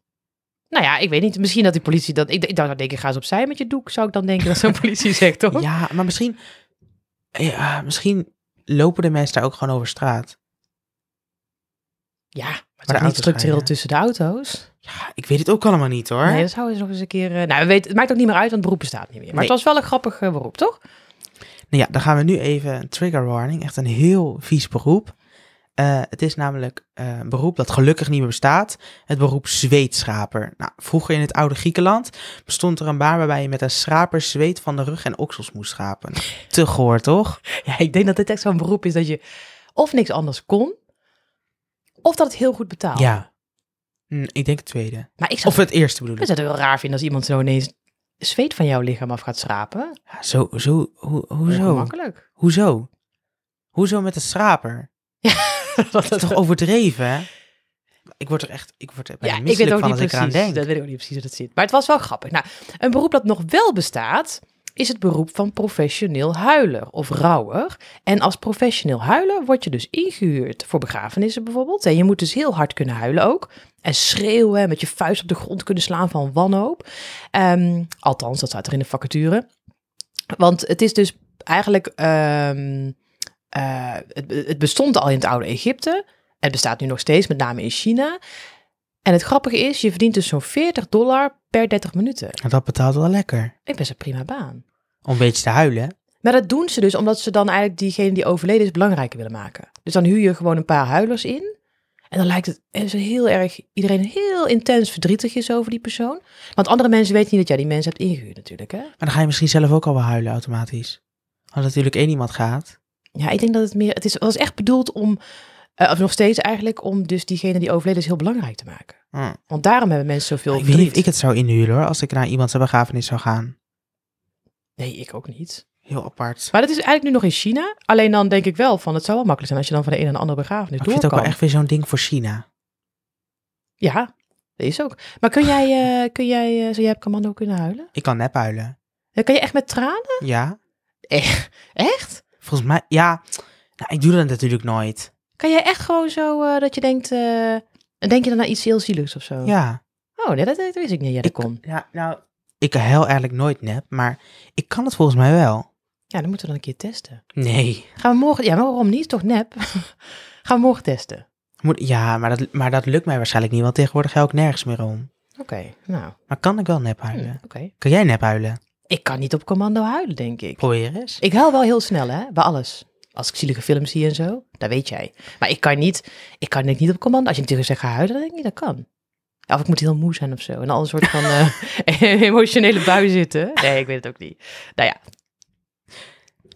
[SPEAKER 1] Nou ja, ik weet niet. Misschien dat die politie dat. Ik, ik dacht, denk ik, ga eens opzij met je doek, zou ik dan denken dat zo'n politie zegt, toch?
[SPEAKER 2] Ja, maar misschien, ja, misschien lopen de mensen daar ook gewoon over straat.
[SPEAKER 1] Ja, maar het is
[SPEAKER 2] de
[SPEAKER 1] toch niet
[SPEAKER 2] auto's
[SPEAKER 1] structureel
[SPEAKER 2] rijden.
[SPEAKER 1] tussen de auto's.
[SPEAKER 2] Ja, ik weet het ook allemaal niet hoor.
[SPEAKER 1] Nee, dat zou eens nog eens een keer. eh, nou, we weten, het maakt ook niet meer uit, want het beroep bestaat niet meer. Maar
[SPEAKER 2] Nee.
[SPEAKER 1] het was wel een grappig eh, beroep, toch?
[SPEAKER 2] Nou ja, dan gaan we nu even een trigger warning. Echt een heel vies beroep. Eh, het is namelijk eh, een beroep dat gelukkig niet meer bestaat. Het beroep zweetschaper. Nou, vroeger in het oude Griekenland bestond er een baan waarbij je met een schraper zweet van de rug en oksels moest schrapen. Nou, te goor, toch?
[SPEAKER 1] Ja, ik denk dat dit echt zo'n beroep is dat je of niks anders kon, of dat het heel goed betaalt.
[SPEAKER 2] Ja. Hm, ik denk het tweede.
[SPEAKER 1] Maar ik zou,
[SPEAKER 2] Of het eerste bedoel ik.
[SPEAKER 1] ik zou het wel raar vinden als iemand zo ineens zweet van jouw lichaam af gaat schrapen.
[SPEAKER 2] Ja, zo, zo, ho- hoezo?
[SPEAKER 1] Makkelijk.
[SPEAKER 2] Hoezo? Hoezo met een schraper? Dat is toch overdreven, hè? Ik word er echt, ik word er bijna
[SPEAKER 1] ja, ik weet
[SPEAKER 2] misselijk
[SPEAKER 1] ook
[SPEAKER 2] van
[SPEAKER 1] niet
[SPEAKER 2] als ik eraan
[SPEAKER 1] precies.
[SPEAKER 2] denk.
[SPEAKER 1] Dat weet ik ook niet precies hoe dat zit. Maar het was wel grappig. Nou, een beroep dat nog wel bestaat is het beroep van professioneel huiler of rouwer. En als professioneel huiler word je dus ingehuurd voor begrafenissen bijvoorbeeld. En je moet dus heel hard kunnen huilen ook. En schreeuwen, en met je vuist op de grond kunnen slaan van wanhoop. Ehm, althans, dat staat er in de vacature. Want het is dus eigenlijk... ehm, eh, het, het bestond al in het oude Egypte. Het bestaat nu nog steeds, met name in China. En het grappige is, je verdient dus zo'n 40 dollar per 30 minuten.
[SPEAKER 2] Nou, Dat betaalt wel lekker.
[SPEAKER 1] Ik best een prima baan.
[SPEAKER 2] Om een beetje te huilen. hè?
[SPEAKER 1] Maar dat doen ze dus omdat ze dan eigenlijk diegene die overleden is belangrijker willen maken. Dus dan huur je gewoon een paar huilers in. En dan lijkt het en zo heel erg, iedereen heel intens verdrietig is over die persoon. Want andere mensen weten niet dat jij die mensen hebt ingehuurd natuurlijk. Hè?
[SPEAKER 2] Maar dan ga je misschien zelf ook al wel huilen automatisch. Als natuurlijk één iemand gaat.
[SPEAKER 1] Ja, ik denk dat het meer, het is, het was echt bedoeld om, eh, of nog steeds eigenlijk, om dus diegene die overleden is heel belangrijk te maken.
[SPEAKER 2] Hm.
[SPEAKER 1] Want daarom hebben mensen zoveel
[SPEAKER 2] Ik weet niet
[SPEAKER 1] verdriet.
[SPEAKER 2] of ik het zou inhuren hoor, als ik naar iemand zijn begrafenis zou gaan.
[SPEAKER 1] Nee, ik ook niet.
[SPEAKER 2] Heel apart.
[SPEAKER 1] Maar dat is eigenlijk nu nog in China. Alleen dan denk ik wel van, het zou wel makkelijk zijn als je dan van de een naar de andere begrafenis
[SPEAKER 2] Ik
[SPEAKER 1] door
[SPEAKER 2] vind het ook
[SPEAKER 1] kan.
[SPEAKER 2] wel echt weer zo'n ding voor China.
[SPEAKER 1] Ja, dat is ook. Maar kun jij, eh, kun jij eh, zo jij hebt commando kunnen huilen?
[SPEAKER 2] Ik kan nep huilen.
[SPEAKER 1] Ja, Kan je echt met tranen? Eh,
[SPEAKER 2] Ja.
[SPEAKER 1] Echt?
[SPEAKER 2] Volgens mij, ja. Nou, ik doe dat natuurlijk nooit.
[SPEAKER 1] Kan jij echt gewoon zo eh, dat je denkt, eh, denk je dan naar iets heel zieligs of zo?
[SPEAKER 2] Ja.
[SPEAKER 1] Oh, nee, dat, dat wist ik niet. Ja, dat
[SPEAKER 2] Ik-
[SPEAKER 1] kon.
[SPEAKER 2] ja nou, ik huil eigenlijk nooit nep, maar ik kan het volgens mij wel.
[SPEAKER 1] Ja, dan moeten we dan een keer testen.
[SPEAKER 2] Nee.
[SPEAKER 1] Gaan we morgen, ja, maar waarom niet? Toch nep? Gaan we morgen testen.
[SPEAKER 2] Moet, ja, maar dat, maar dat lukt mij waarschijnlijk niet, want tegenwoordig huil ik nergens meer om.
[SPEAKER 1] Oké, nou,
[SPEAKER 2] Maar kan ik wel nep
[SPEAKER 1] hm,
[SPEAKER 2] huilen?
[SPEAKER 1] oké.
[SPEAKER 2] Kan jij nep huilen?
[SPEAKER 1] Ik kan niet op commando huilen, denk ik.
[SPEAKER 2] Probeer eens.
[SPEAKER 1] Ik huil wel heel snel, hè, bij alles. Als ik zielige films zie en zo, dat weet jij. Maar ik kan niet, ik kan denk ik niet op commando. Als je natuurlijk zegt, ga huilen, dan denk ik niet, dat kan. Ja, of ik moet heel moe zijn of zo. En al een soort van eh, emotionele bui zitten. Nee, ik weet het ook niet. Nou ja,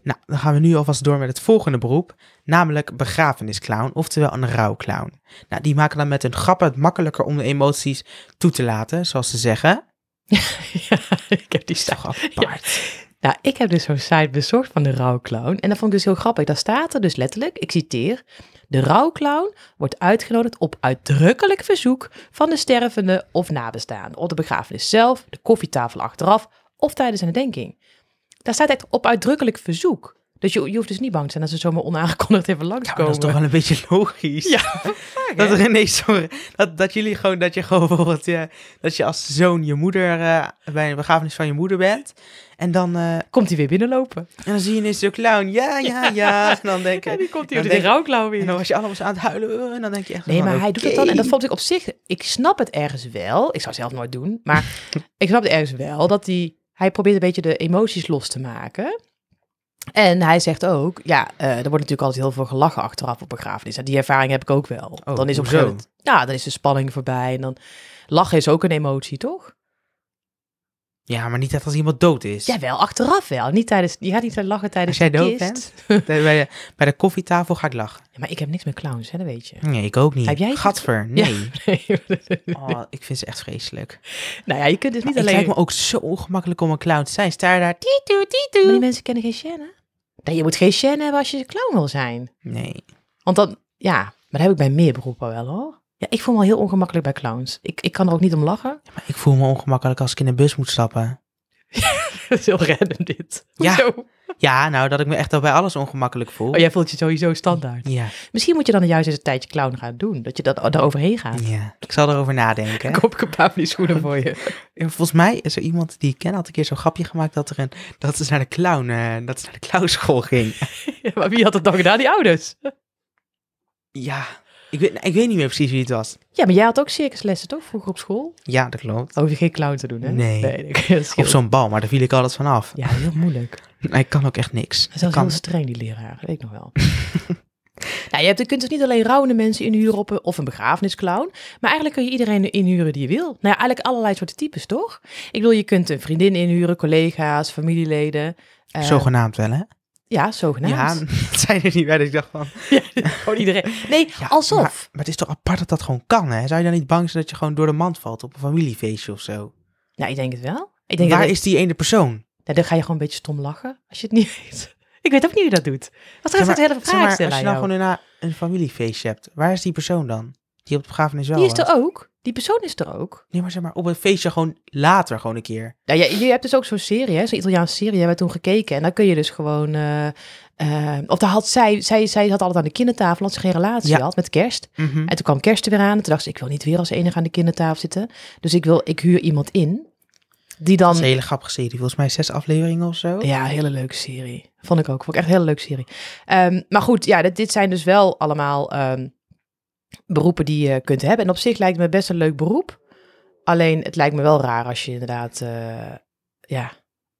[SPEAKER 2] Nou, dan gaan we nu alvast door met het volgende beroep, namelijk begrafenisclown, oftewel een rouwclown. Nou, die maken dan met hun grappen het makkelijker om de emoties toe te laten, zoals ze zeggen.
[SPEAKER 1] Ja, ik heb die
[SPEAKER 2] Is toch
[SPEAKER 1] staan.
[SPEAKER 2] apart.
[SPEAKER 1] Nou, ik heb dus zo'n site bezorgd van de rouwclown. En dat vond ik dus heel grappig. Daar staat er dus letterlijk, ik citeer... De rouwclown wordt uitgenodigd op uitdrukkelijk verzoek van de stervende of nabestaande. Op de begrafenis zelf, de koffietafel achteraf of tijdens een herdenking. Daar staat echt op uitdrukkelijk verzoek. Dus je, je hoeft dus niet bang te zijn als ze zomaar onaangekondigd even
[SPEAKER 2] Ja, maar
[SPEAKER 1] langskomen.
[SPEAKER 2] Ah, dat is toch wel een beetje logisch.
[SPEAKER 1] Ja,
[SPEAKER 2] Dat er ineens zo'n- dat, dat jullie gewoon, dat je gewoon bijvoorbeeld, eh, dat je als zoon je moeder, eh, bij een begrafenis van je moeder bent. En dan, eh,
[SPEAKER 1] Komt hij weer binnenlopen?
[SPEAKER 2] en dan zie je ineens zo'n clown, ja, ja, ja. En dan denk
[SPEAKER 1] Ja,
[SPEAKER 2] je,
[SPEAKER 1] die komt
[SPEAKER 2] dan
[SPEAKER 1] hier de
[SPEAKER 2] denk-
[SPEAKER 1] rouwclown
[SPEAKER 2] en
[SPEAKER 1] weer.
[SPEAKER 2] dan was je allemaal zo aan het huilen. En dan denk je echt,
[SPEAKER 1] Nee,
[SPEAKER 2] van,
[SPEAKER 1] maar hij doet het dan.
[SPEAKER 2] Ah, oké.
[SPEAKER 1] En dat vond ik op zich. Ik snap het ergens wel. Ik zou het zelf nooit doen. Maar ik snap het ergens wel dat hij. Hij probeert een beetje de emoties los te maken. En hij zegt ook, ja, eh, er wordt natuurlijk altijd heel veel gelachen achteraf op begrafenis. En die ervaring heb ik ook wel.
[SPEAKER 2] Oh,
[SPEAKER 1] dan is op een
[SPEAKER 2] hoezo?
[SPEAKER 1] gegeven moment- ja, dan is de spanning voorbij. En dan lachen is ook een emotie, toch?
[SPEAKER 2] Ja, maar niet echt als iemand dood is.
[SPEAKER 1] Ja, wel achteraf wel. Niet tijdens, je gaat niet lachen tijdens
[SPEAKER 2] Als jij
[SPEAKER 1] de
[SPEAKER 2] dood
[SPEAKER 1] kist.
[SPEAKER 2] bent? Bij de, bij de koffietafel ga ik lachen.
[SPEAKER 1] Ja, maar ik heb niks met clowns, hè, dat weet je.
[SPEAKER 2] Nee, ik ook niet.
[SPEAKER 1] Heb jij het?
[SPEAKER 2] Gadver, nee.
[SPEAKER 1] Nee.
[SPEAKER 2] Oh, ik vind ze echt vreselijk.
[SPEAKER 1] nou ja, je kunt dus niet
[SPEAKER 2] Maar Het
[SPEAKER 1] alleen...
[SPEAKER 2] lijkt me ook zo ongemakkelijk om een clown te zijn. Sta je daar... Titu,
[SPEAKER 1] Maar die
[SPEAKER 2] titu.
[SPEAKER 1] mensen kennen geen chaîne. Nee, je moet geen chaîne hebben als je clown wil zijn.
[SPEAKER 2] Nee.
[SPEAKER 1] Want dan, ja, maar dat heb ik bij meer beroepen wel hoor. Ja, ik voel me al heel ongemakkelijk bij clowns. Ik, ik kan er ook niet om lachen.
[SPEAKER 2] Maar ik voel me ongemakkelijk als ik in een bus moet stappen.
[SPEAKER 1] Dat is heel random dit.
[SPEAKER 2] Ja.
[SPEAKER 1] Hoezo?
[SPEAKER 2] Ja, nou, dat ik me echt al bij alles ongemakkelijk voel.
[SPEAKER 1] Oh, jij voelt je sowieso standaard.
[SPEAKER 2] ja.
[SPEAKER 1] Misschien moet je dan juist eens een tijdje clown gaan doen. Dat je dat, daar overheen gaat.
[SPEAKER 2] ja. Ik zal erover nadenken.
[SPEAKER 1] Ik hoop ik een paar van die schoenen voor je.
[SPEAKER 2] Ja, Volgens mij is er iemand die ik ken, had een keer zo'n grapje gemaakt dat, er een, dat ze naar de clown, eh, dat ze naar de clownschool ging.
[SPEAKER 1] Ja, maar wie had dat dan gedaan? Die ouders.
[SPEAKER 2] Ja, ik weet, ik weet niet meer precies wie het was.
[SPEAKER 1] Ja, maar jij had ook circuslessen toch vroeger op school?
[SPEAKER 2] Ja, dat klopt.
[SPEAKER 1] Hoef je geen clown te doen hè?
[SPEAKER 2] Nee.
[SPEAKER 1] nee, nee, dat
[SPEAKER 2] Op
[SPEAKER 1] scheelt.
[SPEAKER 2] zo'n bal, maar daar viel ik altijd van af.
[SPEAKER 1] Ja, heel moeilijk.
[SPEAKER 2] Nee, ik kan ook echt niks.
[SPEAKER 1] Hij is zelfs
[SPEAKER 2] kan.
[SPEAKER 1] heel streng, die leraar. Dat weet ik nog wel. nou, je, hebt, je kunt dus niet alleen rouwende mensen inhuren op een, of een begrafenisclown. Maar eigenlijk kun je iedereen inhuren die je wil. Nou ja, eigenlijk allerlei soorten types, toch? Ik bedoel, je kunt een vriendin inhuren, collega's, familieleden. eh,
[SPEAKER 2] Zogenaamd wel, hè?
[SPEAKER 1] Ja, zogenaamd.
[SPEAKER 2] Ja, het zijn er niet bij, dus ik dacht van...
[SPEAKER 1] Gewoon iedereen. Nee,
[SPEAKER 2] Ja,
[SPEAKER 1] alsof.
[SPEAKER 2] Maar, maar het is toch apart dat dat gewoon kan, hè? Zou je dan niet bang zijn dat je gewoon door de mand valt op een familiefeestje of zo?
[SPEAKER 1] Nou, ik denk het wel. Ik denk
[SPEAKER 2] Waar
[SPEAKER 1] dat,
[SPEAKER 2] is die ene persoon?
[SPEAKER 1] nou, dan ga je gewoon een beetje stom lachen als je het niet weet. Ik weet ook niet wie dat doet. Wat gaat dat hele
[SPEAKER 2] zeg maar,
[SPEAKER 1] vraag
[SPEAKER 2] als je
[SPEAKER 1] stellen
[SPEAKER 2] nou
[SPEAKER 1] aan jou?
[SPEAKER 2] gewoon een, een familiefeestje hebt, waar is die persoon dan? Die op de begrafenis wel
[SPEAKER 1] Die is
[SPEAKER 2] was.
[SPEAKER 1] er ook. Die persoon is er ook.
[SPEAKER 2] Nee, maar zeg maar, op een feestje gewoon later gewoon een keer.
[SPEAKER 1] Nou, je, je hebt dus ook zo'n serie, hè, zo'n Italiaanse serie, hebben we toen gekeken. En dan kun je dus gewoon... eh, eh, of daar had zij, zij, zij zat altijd aan de kindertafel, omdat ze geen relatie
[SPEAKER 2] Ja.
[SPEAKER 1] had met kerst. En toen kwam kerst er weer aan en toen dacht ze, ik wil niet weer als enige aan de kindertafel zitten. Dus ik, wil, ik huur iemand in, die
[SPEAKER 2] Dat is
[SPEAKER 1] dan...
[SPEAKER 2] een hele grappige serie. Volgens mij zes afleveringen of zo.
[SPEAKER 1] Ja, hele leuke serie. Vond ik ook. Vond ik echt een hele leuke serie. Ehm, maar goed, ja, dit, dit zijn dus wel allemaal ehm, beroepen die je kunt hebben. En op zich lijkt het me best een leuk beroep. Alleen het lijkt me wel raar als je inderdaad, eh, ja,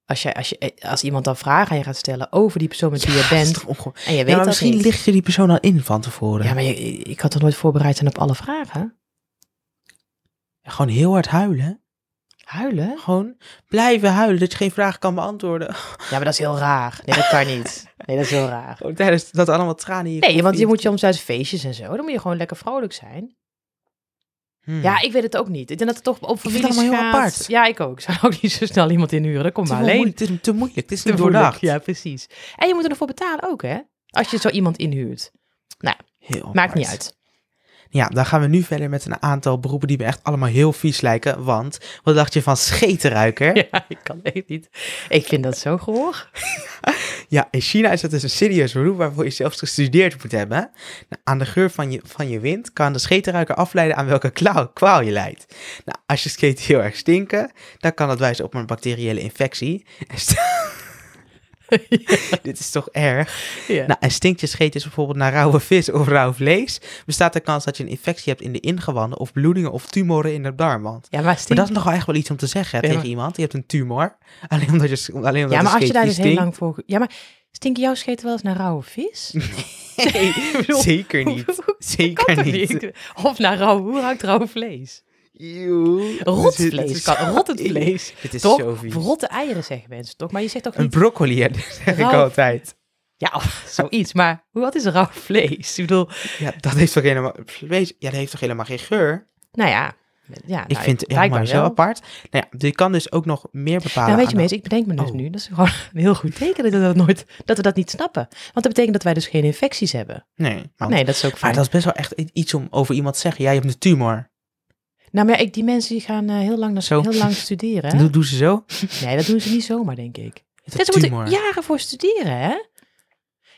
[SPEAKER 1] als, je, als, je, eh, als iemand dan vragen aan je gaat stellen over die persoon met wie je
[SPEAKER 2] dat is
[SPEAKER 1] bent.
[SPEAKER 2] toch onge-
[SPEAKER 1] En je weet
[SPEAKER 2] Ja, maar
[SPEAKER 1] dat
[SPEAKER 2] misschien
[SPEAKER 1] niet.
[SPEAKER 2] licht je die persoon al in van tevoren.
[SPEAKER 1] Ja, maar je, ik had toch nooit voorbereid zijn op alle vragen?
[SPEAKER 2] Gewoon heel hard huilen.
[SPEAKER 1] Huilen?
[SPEAKER 2] Gewoon blijven huilen dat je geen vraag kan beantwoorden.
[SPEAKER 1] Ja, maar dat is heel raar. Nee, dat kan niet. Nee, dat is heel raar.
[SPEAKER 2] Gewoon tijdens dat allemaal tranen in je
[SPEAKER 1] Nee, want je
[SPEAKER 2] koffie.
[SPEAKER 1] moet je soms tijdens feestjes en zo, dan moet je gewoon lekker vrolijk zijn.
[SPEAKER 2] Hmm.
[SPEAKER 1] Ja, ik weet het ook niet. Ik denk dat het toch op
[SPEAKER 2] vind het
[SPEAKER 1] families
[SPEAKER 2] allemaal heel
[SPEAKER 1] gaat.
[SPEAKER 2] apart.
[SPEAKER 1] Ja, ik ook. Ik zou ook niet zo snel iemand inhuren. Dat
[SPEAKER 2] het
[SPEAKER 1] komt
[SPEAKER 2] is
[SPEAKER 1] maar
[SPEAKER 2] wel
[SPEAKER 1] alleen.
[SPEAKER 2] moeilijk, het is te moeilijk. Het is
[SPEAKER 1] te
[SPEAKER 2] niet
[SPEAKER 1] voelen.
[SPEAKER 2] doordacht.
[SPEAKER 1] Ja, precies. En je moet er nog voor betalen ook, hè? Als je zo iemand inhuurt.
[SPEAKER 2] Heel
[SPEAKER 1] Maakt
[SPEAKER 2] apart.
[SPEAKER 1] niet uit.
[SPEAKER 2] Ja, dan gaan we nu verder met een aantal beroepen die me echt allemaal heel vies lijken. Want wat dacht je van schetenruiker?
[SPEAKER 1] Ja, ik kan echt niet. Ik vind dat zo gehoor.
[SPEAKER 2] Ja, in China is dat dus een serieus beroep waarvoor je zelfs gestudeerd moet hebben. Nou, aan de geur van je, van je wind kan de schetenruiker afleiden aan welke klauw, kwaal je lijdt. Nou, als je sketen heel erg stinken, dan kan dat wijzen op een bacteriële infectie. En st- Nou, Dit is toch erg?
[SPEAKER 1] Ja.
[SPEAKER 2] Nou, en stinkt je scheet is bijvoorbeeld naar rauwe vis of rauw vlees, bestaat de kans dat je een infectie hebt in de ingewanden of bloedingen of tumoren in het darmwand.
[SPEAKER 1] ja, maar,
[SPEAKER 2] Maar
[SPEAKER 1] stinkt-
[SPEAKER 2] dat is nogal echt wel iets om te zeggen hè,
[SPEAKER 1] Ja,
[SPEAKER 2] tegen
[SPEAKER 1] maar-
[SPEAKER 2] iemand. Je hebt een tumor. Alleen omdat je, alleen omdat
[SPEAKER 1] ja, maar
[SPEAKER 2] de
[SPEAKER 1] als je
[SPEAKER 2] scheet
[SPEAKER 1] daar
[SPEAKER 2] vies
[SPEAKER 1] dus heel
[SPEAKER 2] stinkt.
[SPEAKER 1] lang voor... Ja, maar stinken jouw scheten wel eens naar rauwe vis?
[SPEAKER 2] Nee,
[SPEAKER 1] bedoel,
[SPEAKER 2] zeker
[SPEAKER 1] hoe-
[SPEAKER 2] niet.
[SPEAKER 1] hoe- hoe-
[SPEAKER 2] Zeker
[SPEAKER 1] Kan toch
[SPEAKER 2] niet.
[SPEAKER 1] Of naar rauw... Hoe ruikt rauw vlees?
[SPEAKER 2] Eeuw.
[SPEAKER 1] Rot
[SPEAKER 2] Dit is- dit
[SPEAKER 1] vlees
[SPEAKER 2] is-
[SPEAKER 1] kan... Rottend vlees.
[SPEAKER 2] Dit is
[SPEAKER 1] Toch?
[SPEAKER 2] zo vies.
[SPEAKER 1] Of rotte eieren, zeggen mensen toch? Maar je zegt toch
[SPEAKER 2] Een
[SPEAKER 1] niet...
[SPEAKER 2] broccoli, hè, dat zeg ik
[SPEAKER 1] Rauw-
[SPEAKER 2] altijd.
[SPEAKER 1] Ja, of zoiets. Maar wat is rauw vlees? Ik bedoel...
[SPEAKER 2] Ja, dat heeft toch helemaal, vlees, ja, dat heeft toch helemaal geen geur?
[SPEAKER 1] Nou ja... ja nou,
[SPEAKER 2] ik vind het
[SPEAKER 1] blijkbaar
[SPEAKER 2] helemaal zo
[SPEAKER 1] wel.
[SPEAKER 2] apart. Nou ja, je kan dus ook nog meer bepalen.
[SPEAKER 1] Nou, weet
[SPEAKER 2] aan
[SPEAKER 1] je,
[SPEAKER 2] de-
[SPEAKER 1] mees, ik bedenk me dus
[SPEAKER 2] Oh.
[SPEAKER 1] nu. Dat is gewoon een heel goed teken dat we dat, nooit, dat we dat niet snappen. Want dat betekent dat wij dus geen infecties hebben.
[SPEAKER 2] Nee, maar,
[SPEAKER 1] Nee, dat is ook
[SPEAKER 2] Oh. maar
[SPEAKER 1] fijn.
[SPEAKER 2] dat is best wel echt i- iets om over iemand te zeggen. Ja, je hebt een tumor.
[SPEAKER 1] Nou, maar ja, ik, die mensen die gaan eh, heel, lang naar,
[SPEAKER 2] Zo.
[SPEAKER 1] heel lang
[SPEAKER 2] Dat
[SPEAKER 1] studeren. hè?
[SPEAKER 2] doen- doen ze zo.
[SPEAKER 1] Nee, dat doen ze niet zomaar, denk ik.
[SPEAKER 2] Je
[SPEAKER 1] Ja,
[SPEAKER 2] hebt
[SPEAKER 1] ze
[SPEAKER 2] een
[SPEAKER 1] moeten
[SPEAKER 2] tumor.
[SPEAKER 1] jaren voor studeren, hè?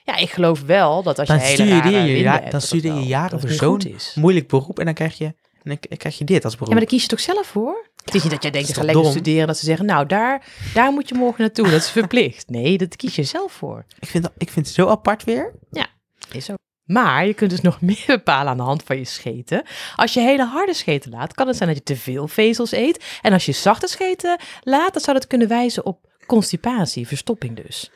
[SPEAKER 1] Ja, ik geloof wel dat als
[SPEAKER 2] Dan
[SPEAKER 1] je hele
[SPEAKER 2] studeer
[SPEAKER 1] rare
[SPEAKER 2] je
[SPEAKER 1] winden
[SPEAKER 2] ja-
[SPEAKER 1] hebt,
[SPEAKER 2] dan
[SPEAKER 1] dat dat
[SPEAKER 2] studeer je
[SPEAKER 1] wel-
[SPEAKER 2] jaren
[SPEAKER 1] dat het
[SPEAKER 2] voor
[SPEAKER 1] niet
[SPEAKER 2] zo'n-
[SPEAKER 1] goed is. Ja,
[SPEAKER 2] Moeilijk beroep en dan krijg je, en dan k- krijg je dit als beroep.
[SPEAKER 1] maar daar kies je toch zelf voor? het is niet dat jij denkt,
[SPEAKER 2] is
[SPEAKER 1] ik
[SPEAKER 2] toch
[SPEAKER 1] ga lekker
[SPEAKER 2] dom?
[SPEAKER 1] studeren. Dat ze zeggen, nou, daar, daar moet je morgen naartoe. Dat is verplicht. Nee, dat kies je zelf voor.
[SPEAKER 2] ik, vind, dat- ik vind het zo apart weer.
[SPEAKER 1] Is ook. Maar je kunt dus nog meer bepalen aan de hand van je scheten. Als je hele harde scheten laat, kan het zijn dat je te veel vezels eet. En als je zachte scheten laat, dan zou dat kunnen wijzen op constipatie, verstopping dus.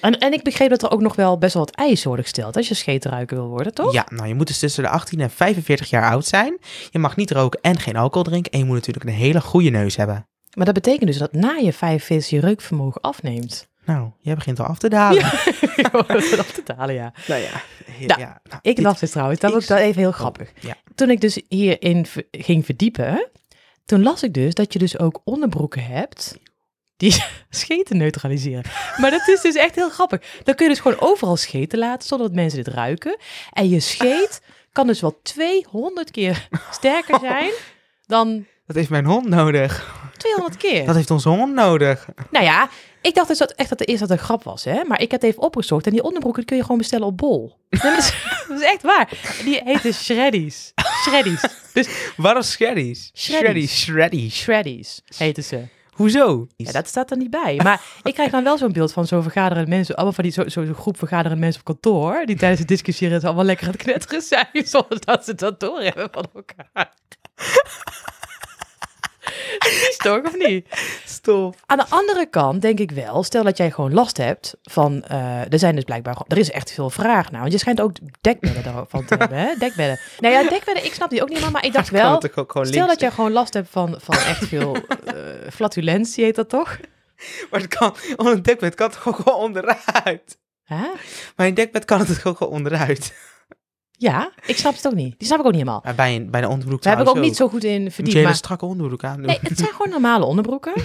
[SPEAKER 1] En, en ik begreep dat er ook nog wel best wel wat eisen worden gesteld als je scheetruiker wil worden, toch?
[SPEAKER 2] Ja, nou je moet dus tussen de 18 en 45 jaar oud zijn. Je mag niet roken en geen alcohol drinken. En je moet natuurlijk een hele goede neus hebben.
[SPEAKER 1] Maar dat betekent dus dat na je 45 je reukvermogen afneemt.
[SPEAKER 2] Nou, jij begint al af te dalen. Ja.
[SPEAKER 1] dat af te talen, ja.
[SPEAKER 2] Nou ja. He-
[SPEAKER 1] Nou,
[SPEAKER 2] ja, nou,
[SPEAKER 1] Ik
[SPEAKER 2] dit-
[SPEAKER 1] dacht dus trouwens, dat
[SPEAKER 2] ik oh,
[SPEAKER 1] was wel even heel grappig.
[SPEAKER 2] ja.
[SPEAKER 1] Toen ik dus hierin v- ging verdiepen, toen las ik dus dat je dus ook onderbroeken hebt die scheten neutraliseren. Maar dat is dus echt heel grappig. Dan kun je dus gewoon overal scheten laten, zonder dat mensen dit ruiken. En je scheet kan dus wel 200 keer sterker zijn dan
[SPEAKER 2] Dat heeft mijn hond nodig.
[SPEAKER 1] 200 keer.
[SPEAKER 2] Dat heeft onze hond nodig.
[SPEAKER 1] Nou ja, ik dacht dus dat echt dat de eerste dat een grap was, hè? Maar ik heb het even opgezocht en die onderbroeken kun je gewoon bestellen op Bol. Nee, maar dat, is, dat is echt waar. Die heten Shreddies. Shreddies. Dus
[SPEAKER 2] Waarom shreddies?
[SPEAKER 1] Shreddies.
[SPEAKER 2] Shreddies.
[SPEAKER 1] Shreddies heten ze.
[SPEAKER 2] Hoezo?
[SPEAKER 1] Ja, dat staat er niet bij. Maar ik krijg dan wel zo'n beeld van zo'n vergaderende mensen. Allemaal van die zo- zo'n groep vergaderende mensen op kantoor. Die tijdens het discussiëren allemaal lekker aan het knetteren zijn. Zonder dat ze dat doorhebben van elkaar. Is toch, of niet?
[SPEAKER 2] Stof.
[SPEAKER 1] Aan de andere kant denk ik wel, stel dat jij gewoon last hebt van, eh, er zijn dus blijkbaar, gewoon- er is echt veel vraag naar, want je schijnt ook dekbedden daarvan te hebben, hè? Dekbedden. Nou ja, dekbedden, ik snap die ook niet helemaal, maar ik dacht wel, stel dat jij gewoon last hebt van, van echt veel eh, flatulentie, heet dat toch?
[SPEAKER 2] Maar het kan, onder een dekbed kan het ook gewoon onderuit.
[SPEAKER 1] Hè?
[SPEAKER 2] Bij een dekbed kan het ook gewoon onderuit.
[SPEAKER 1] Ja, ik snap het ook niet. Die snap ik ook niet helemaal.
[SPEAKER 2] Maar bij een, bij een onderbroek
[SPEAKER 1] Daar heb ik ook niet
[SPEAKER 2] trouwens
[SPEAKER 1] zo goed in
[SPEAKER 2] Moet
[SPEAKER 1] verdiend,
[SPEAKER 2] je hele
[SPEAKER 1] maar...
[SPEAKER 2] strakke onderbroek aan doen.
[SPEAKER 1] Nee, het zijn gewoon normale onderbroeken. En,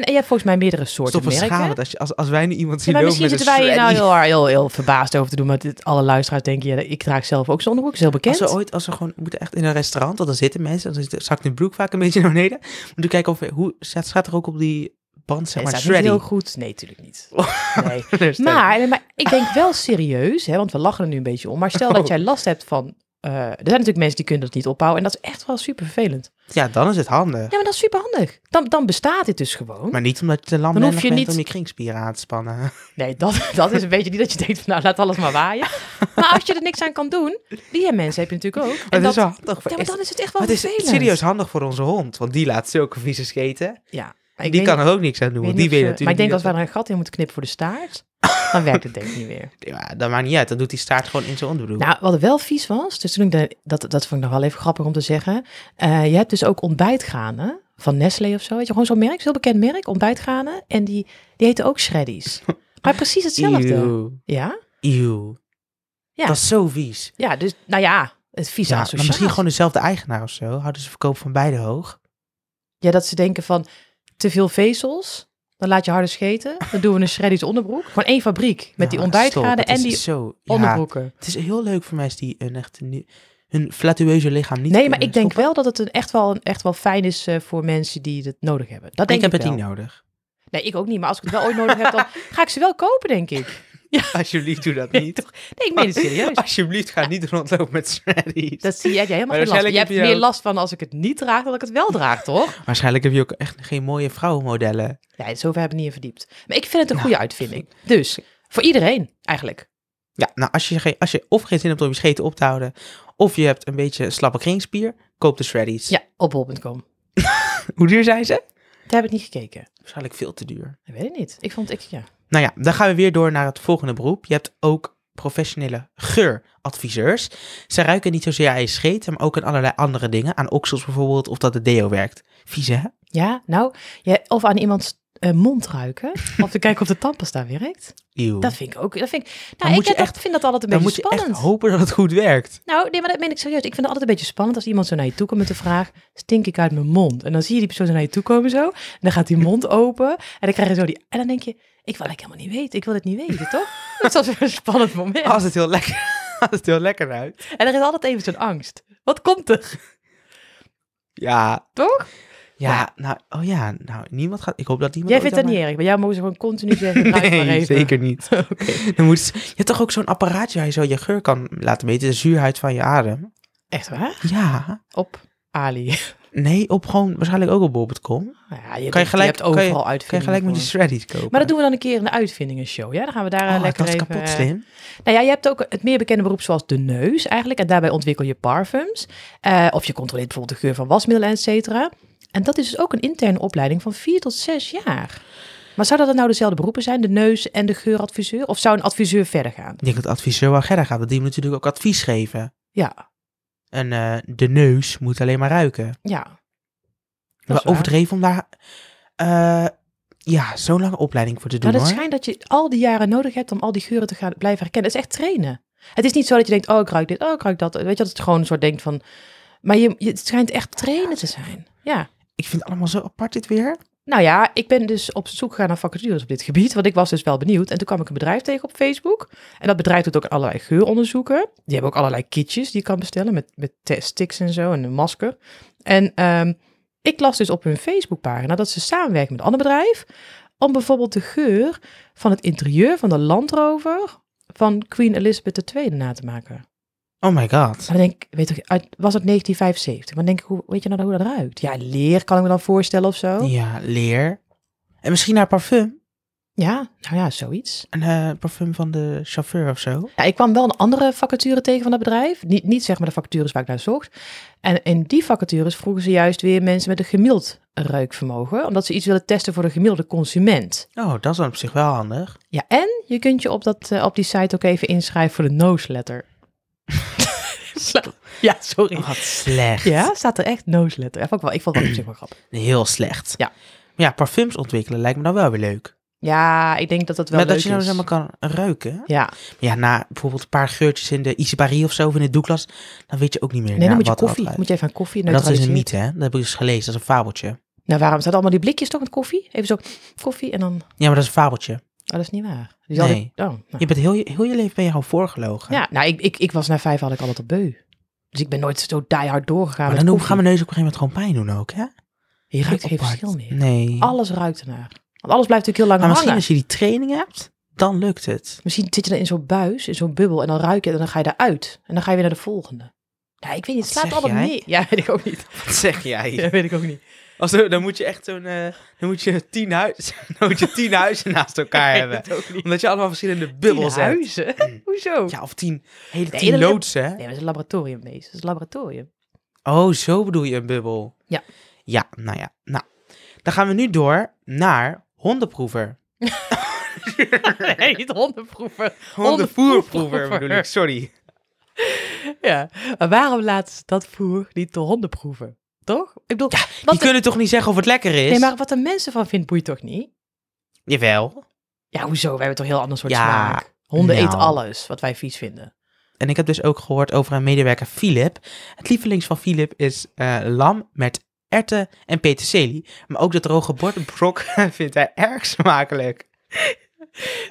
[SPEAKER 1] en je hebt volgens mij meerdere soorten
[SPEAKER 2] Stof van
[SPEAKER 1] merken.
[SPEAKER 2] schade. Als, je- als, als wij nu iemand
[SPEAKER 1] Ja,
[SPEAKER 2] zien
[SPEAKER 1] maar
[SPEAKER 2] lopen
[SPEAKER 1] misschien
[SPEAKER 2] met een
[SPEAKER 1] zitten wij hier nou
[SPEAKER 2] shreddy.
[SPEAKER 1] heel, heel, heel verbaasd over te doen. Maar dit, alle luisteraars denken, ja, ik draag zelf ook zo'n onderbroek. is heel bekend.
[SPEAKER 2] Als we ooit, als we gewoon moeten echt in een restaurant, want dan zitten mensen, dan zit- zakt hun broek vaak een beetje naar beneden. Moeten kijken of hoe staat, staat er ook op die band, zeg
[SPEAKER 1] Nee,
[SPEAKER 2] maar, Dus, eh,
[SPEAKER 1] staat niet
[SPEAKER 2] shreddy.
[SPEAKER 1] heel goed. Nee, natuurlijk niet. Nee.
[SPEAKER 2] Er staat-
[SPEAKER 1] Maar, nee, maar ik denk wel serieus, hè, want we lachen er nu een beetje om. Maar stel dat
[SPEAKER 2] Oh.
[SPEAKER 1] jij last hebt van... eh, er zijn natuurlijk mensen die kunnen dat niet ophouden. En dat is echt wel super vervelend.
[SPEAKER 2] ja, dan is het handig.
[SPEAKER 1] Ja, maar dat is super handig. Dan, dan bestaat dit dus gewoon.
[SPEAKER 2] Maar niet omdat je te lam
[SPEAKER 1] Dan hoef
[SPEAKER 2] bent
[SPEAKER 1] je
[SPEAKER 2] bent
[SPEAKER 1] niet-
[SPEAKER 2] om je kringspieren aan te spannen.
[SPEAKER 1] Nee, dat, dat is een beetje niet dat je denkt van nou, laat alles maar waaien. Maar als je er niks aan kan doen, die mensen heb je natuurlijk ook.
[SPEAKER 2] Maar
[SPEAKER 1] En
[SPEAKER 2] dat is
[SPEAKER 1] dat,
[SPEAKER 2] wel handig. Voor
[SPEAKER 1] ja, maar
[SPEAKER 2] echt-
[SPEAKER 1] dan is het echt wel
[SPEAKER 2] maar het is
[SPEAKER 1] vervelend.
[SPEAKER 2] serieus handig voor onze hond, want die laat zulke vieze scheten.
[SPEAKER 1] Ja.
[SPEAKER 2] Die kan er ook niks aan doen,
[SPEAKER 1] Weet
[SPEAKER 2] want
[SPEAKER 1] niet
[SPEAKER 2] die
[SPEAKER 1] of
[SPEAKER 2] weet
[SPEAKER 1] ze-
[SPEAKER 2] natuurlijk
[SPEAKER 1] maar ik denk als
[SPEAKER 2] niet
[SPEAKER 1] we er een gat in moeten knippen voor de staart, dan werkt het denk ik niet meer.
[SPEAKER 2] dat- Ja, dat maakt niet uit, dan doet die staart gewoon in zijn onderbroek.
[SPEAKER 1] Nou, wat er wel vies was, dus toen ik de- dat, dat vond ik nog wel even grappig om te zeggen. Eh, je hebt dus ook ontbijtgranen van Nestlé of zo, weet je, gewoon zo'n merk, zo'n heel bekend merk, ontbijtgranen. En die, die heten ook Shreddies. Maar precies Nou, hetzelfde.
[SPEAKER 2] Eeuw.
[SPEAKER 1] Ja?
[SPEAKER 2] Eeuw.
[SPEAKER 1] Ja.
[SPEAKER 2] Dat is zo vies.
[SPEAKER 1] Ja, dus nou ja, Het
[SPEAKER 2] Ja,
[SPEAKER 1] visa
[SPEAKER 2] maar
[SPEAKER 1] sociaal.
[SPEAKER 2] misschien gewoon dezelfde eigenaar of zo. Houden ze verkoop van beide hoog.
[SPEAKER 1] Ja, dat ze denken van te veel vezels, dan laat je harder scheten. Dan doen we een shreddies onderbroek. Gewoon één fabriek met die
[SPEAKER 2] Ja, stop,
[SPEAKER 1] ontbijtgraden
[SPEAKER 2] het
[SPEAKER 1] en
[SPEAKER 2] is
[SPEAKER 1] die
[SPEAKER 2] zo, ja,
[SPEAKER 1] onderbroeken.
[SPEAKER 2] het is heel leuk voor mensen die hun, echt, ni- hun flatueuze lichaam niet
[SPEAKER 1] Nee, maar
[SPEAKER 2] kunnen
[SPEAKER 1] ik denk wel
[SPEAKER 2] stoppen.
[SPEAKER 1] dat het een echt, wel, een echt wel fijn is eh, voor mensen die het nodig hebben. Dat denk
[SPEAKER 2] ik heb
[SPEAKER 1] ik,
[SPEAKER 2] het
[SPEAKER 1] wel.
[SPEAKER 2] niet nodig.
[SPEAKER 1] Nee, ik ook niet. Maar als ik het wel ooit nodig heb, dan ga ik ze wel kopen, denk ik.
[SPEAKER 2] Alsjeblieft, doe dat niet.
[SPEAKER 1] Nee, ik meen het serieus.
[SPEAKER 2] Alsjeblieft, ga niet rondlopen met shreddies.
[SPEAKER 1] Dat zie jij, jij helemaal geen
[SPEAKER 2] Maar
[SPEAKER 1] last van. Je
[SPEAKER 2] waarschijnlijk
[SPEAKER 1] hebt
[SPEAKER 2] heb je
[SPEAKER 1] meer
[SPEAKER 2] ook-
[SPEAKER 1] last van als ik het niet draag, dan dat ik het wel draag, toch?
[SPEAKER 2] Waarschijnlijk heb je ook echt geen mooie vrouwenmodellen.
[SPEAKER 1] Nee, zover heb ik niet in verdiept. Maar ik vind het een
[SPEAKER 2] Nou,
[SPEAKER 1] goede uitvinding. Dus, voor iedereen, eigenlijk.
[SPEAKER 2] Ja, nou, als je, geen- als je of geen zin hebt om je scheten op te houden, of je hebt een beetje slappe kringspier, koop de shreddies.
[SPEAKER 1] Ja, op bol.com.
[SPEAKER 2] Hoe duur zijn ze?
[SPEAKER 1] Daar heb ik niet gekeken.
[SPEAKER 2] Waarschijnlijk veel te duur.
[SPEAKER 1] Ik weet het niet. Ik vond, ik, ja.
[SPEAKER 2] Nou ja, dan gaan we weer door naar het volgende beroep. Je hebt ook professionele geuradviseurs. Ze ruiken niet zozeer aan je scheten, maar ook aan allerlei andere dingen. Aan oksels bijvoorbeeld, of dat de deo werkt. Vies, hè?
[SPEAKER 1] Ja, nou, je, of aan iemands eh, mond ruiken, of te kijken of de tandpasta werkt.
[SPEAKER 2] Eeuw.
[SPEAKER 1] Dat vind ik ook, dat vind ik,
[SPEAKER 2] Dan
[SPEAKER 1] nou, ik
[SPEAKER 2] moet je
[SPEAKER 1] heb dat-
[SPEAKER 2] echt-
[SPEAKER 1] vind dat altijd een
[SPEAKER 2] Dan moet
[SPEAKER 1] beetje
[SPEAKER 2] je
[SPEAKER 1] spannend.
[SPEAKER 2] echt hopen dat het goed werkt.
[SPEAKER 1] Nou, nee, maar dat meen ik serieus. Ik vind het altijd een beetje spannend als iemand zo naar je toe komt met de vraag: stink ik uit mijn mond? En dan zie je die persoon zo naar je toe komen zo. En dan gaat die mond open. En dan krijg je zo die. En dan denk je: ik wil het helemaal niet weten. Ik wil het niet weten, toch? Dat is altijd een spannend moment.
[SPEAKER 2] Als het heel lekker, als het heel lekker uit.
[SPEAKER 1] En er is altijd even zo'n angst. Wat komt er?
[SPEAKER 2] Ja.
[SPEAKER 1] Toch?
[SPEAKER 2] Ja, nou, oh ja, nou, niemand gaat... Ik hoop dat niemand
[SPEAKER 1] Jij
[SPEAKER 2] ooit
[SPEAKER 1] vindt dat
[SPEAKER 2] aan
[SPEAKER 1] niet
[SPEAKER 2] mij-
[SPEAKER 1] erg. Bij jou mogen ze gewoon continu zeggen: ruik maar
[SPEAKER 2] Nee,
[SPEAKER 1] even.
[SPEAKER 2] zeker niet. Dan moet, je hebt toch ook zo'n apparaatje waar je zo je geur kan laten meten, de zuurheid van je adem?
[SPEAKER 1] Echt waar?
[SPEAKER 2] Ja.
[SPEAKER 1] Op Ali.
[SPEAKER 2] Nee, op gewoon, waarschijnlijk ook op bol.com.
[SPEAKER 1] Ja, je,
[SPEAKER 2] Kan je gelijk,
[SPEAKER 1] hebt overal
[SPEAKER 2] kan je, kan je
[SPEAKER 1] uitvindingen
[SPEAKER 2] gelijk met die
[SPEAKER 1] voor.
[SPEAKER 2] shreddies kopen.
[SPEAKER 1] Maar dat doen we dan een keer in de uitvindingenshow. Ja, dan gaan we daar eh,
[SPEAKER 2] oh,
[SPEAKER 1] lekker
[SPEAKER 2] dat is
[SPEAKER 1] even,
[SPEAKER 2] kapot
[SPEAKER 1] eh,
[SPEAKER 2] slim.
[SPEAKER 1] Nou ja, je hebt ook het meer bekende beroep zoals de neus eigenlijk. En daarbij ontwikkel je parfums. Eh, of je controleert bijvoorbeeld de geur van wasmiddelen, et cetera. En dat is dus ook een interne opleiding van vier tot zes jaar. Maar zouden dat nou dezelfde beroepen zijn, de neus en de geuradviseur? Of zou een adviseur verder gaan?
[SPEAKER 2] Ik denk dat de adviseur wel verder gaat, want die moet natuurlijk ook advies geven.
[SPEAKER 1] Ja,
[SPEAKER 2] En eh, de neus moet alleen maar ruiken.
[SPEAKER 1] ja. Dat
[SPEAKER 2] Maar
[SPEAKER 1] is waar.
[SPEAKER 2] overdreven om daar eh, ja, zo'n lange opleiding voor te doen
[SPEAKER 1] Nou, dat
[SPEAKER 2] hoor.
[SPEAKER 1] schijnt dat je al die jaren nodig hebt om al die geuren te gaan blijven herkennen. Het is echt trainen. Het is niet zo dat je denkt, oh, ik ruik dit, oh, ik ruik dat. Weet je, dat het gewoon een soort denkt van... Maar je, je- het schijnt echt trainen te zijn. Ja.
[SPEAKER 2] Ik vind het allemaal zo apart dit weer.
[SPEAKER 1] Nou ja, ik ben dus op zoek gegaan naar vacatures op dit gebied, want ik was dus wel benieuwd. En toen kwam ik een bedrijf tegen op Facebook. En dat bedrijf doet ook allerlei geuronderzoeken. Die hebben ook allerlei kitjes die je kan bestellen met, met te- sticks en zo en een masker. En ehm, ik las dus op hun Facebookpagina dat ze samenwerken met een ander bedrijf om bijvoorbeeld de geur van het interieur van de Land Rover van Queen Elizabeth II na te maken.
[SPEAKER 2] Oh my god.
[SPEAKER 1] Maar dan denk ik, weet toch, uit, was het 1975? Maar dan denk ik, hoe, weet je nou hoe dat ruikt? Ja, leer kan ik me dan voorstellen of zo.
[SPEAKER 2] Ja, leer. En misschien haar parfum.
[SPEAKER 1] Ja, nou ja, zoiets.
[SPEAKER 2] Een eh, parfum van de chauffeur of zo.
[SPEAKER 1] Ja, ik kwam wel een andere vacature tegen van dat bedrijf. Niet, niet zeg maar de vacatures waar ik naar zocht. En in die vacatures vroegen ze juist weer mensen met een gemiddeld reukvermogen. Omdat ze iets willen testen voor de gemiddelde consument.
[SPEAKER 2] Oh, dat is dan op zich wel handig.
[SPEAKER 1] Ja, en je kunt je op, dat, eh, op die site ook even inschrijven voor de newsletter. ja, sorry.
[SPEAKER 2] Wat slecht.
[SPEAKER 1] Ja, staat er echt newsletter. Vond ik, wel, ik vond dat op zich wel grappig.
[SPEAKER 2] Heel slecht.
[SPEAKER 1] Ja.
[SPEAKER 2] Maar ja, parfums ontwikkelen lijkt me dan wel weer leuk.
[SPEAKER 1] Ja, ik denk dat dat wel
[SPEAKER 2] maar dat
[SPEAKER 1] leuk
[SPEAKER 2] je nou
[SPEAKER 1] is.
[SPEAKER 2] helemaal kan ruiken.
[SPEAKER 1] Ja,
[SPEAKER 2] Ja, na bijvoorbeeld een paar geurtjes in de Isibari of zo, of in de Douglas, dan weet je ook niet meer.
[SPEAKER 1] nee, dan
[SPEAKER 2] naar
[SPEAKER 1] moet je
[SPEAKER 2] wat er
[SPEAKER 1] koffie.
[SPEAKER 2] afleidt.
[SPEAKER 1] Moet je even aan koffie
[SPEAKER 2] Maar dat is een
[SPEAKER 1] neutraliseren.
[SPEAKER 2] mythe, hè? Dat heb ik dus gelezen. Dat is een fabeltje.
[SPEAKER 1] Nou, waarom staat allemaal die blikjes toch met koffie? Even zo koffie en dan...
[SPEAKER 2] Ja, maar dat is een fabeltje.
[SPEAKER 1] Oh, dat is niet waar. Dus
[SPEAKER 2] Nee.
[SPEAKER 1] ik- oh, nou.
[SPEAKER 2] Je bent heel, je- heel je leven ben je gewoon voorgelogen.
[SPEAKER 1] Ja, nou, ik, ik, ik was na vijf had ik altijd al beu. Dus ik ben nooit zo diehard doorgegaan met
[SPEAKER 2] maar dan doen,
[SPEAKER 1] koffie.
[SPEAKER 2] gaan mijn neus op een gegeven moment gewoon pijn doen ook, hè?
[SPEAKER 1] Je ruikt geen
[SPEAKER 2] Apart.
[SPEAKER 1] verschil meer.
[SPEAKER 2] Nee.
[SPEAKER 1] Alles ruikt ernaar. Want alles blijft natuurlijk heel lang
[SPEAKER 2] Maar misschien
[SPEAKER 1] hangen.
[SPEAKER 2] als je die training hebt, dan lukt het.
[SPEAKER 1] Misschien zit je dan in zo'n buis, in zo'n bubbel en dan ruik je en dan ga je eruit. En dan ga je weer naar de volgende. Nou, ik weet niet, het
[SPEAKER 2] Wat
[SPEAKER 1] slaat
[SPEAKER 2] zeg
[SPEAKER 1] allemaal
[SPEAKER 2] jij?
[SPEAKER 1] niet. Ja, weet ik ook niet.
[SPEAKER 2] Wat zeg jij?
[SPEAKER 1] Ja, weet ik ook niet.
[SPEAKER 2] Als er- dan moet je echt zo'n. eh, dan, moet je tien huizen, dan moet je tien huizen naast elkaar
[SPEAKER 1] Ik
[SPEAKER 2] hebben.
[SPEAKER 1] weet het ook niet.
[SPEAKER 2] Omdat je allemaal verschillende
[SPEAKER 1] Tien
[SPEAKER 2] bubbels hebt.
[SPEAKER 1] huizen? Hoezo?
[SPEAKER 2] Ja, of tien. Hele
[SPEAKER 1] Nee,
[SPEAKER 2] tien
[SPEAKER 1] dat-
[SPEAKER 2] loodsen. hè?
[SPEAKER 1] Nee, maar het is een laboratorium, nee. Het is een laboratorium.
[SPEAKER 2] Oh, zo bedoel je een bubbel.
[SPEAKER 1] Ja.
[SPEAKER 2] Ja, nou ja. Nou, dan gaan we nu door naar hondenproever.
[SPEAKER 1] Nee, niet hondenproeven.
[SPEAKER 2] Hondenvoerproever bedoel ik, sorry.
[SPEAKER 1] Ja, maar waarom laten ze dat voer niet de honden proeven? Toch? Ik bedoel,
[SPEAKER 2] Die
[SPEAKER 1] wat, de,
[SPEAKER 2] kunnen toch niet zeggen of het lekker is?
[SPEAKER 1] nee, maar wat de mensen van vindt, boeit toch niet?
[SPEAKER 2] Jawel.
[SPEAKER 1] Ja, hoezo? Wij hebben toch een heel ander soort
[SPEAKER 2] Ja,
[SPEAKER 1] smaak. Honden
[SPEAKER 2] nou.
[SPEAKER 1] eten alles wat wij vies vinden.
[SPEAKER 2] En ik heb dus ook gehoord over een medewerker Philip. Het lievelings van Philip is eh, lam met erwten en peterselie. Maar ook de droge bordbrok vindt hij erg smakelijk.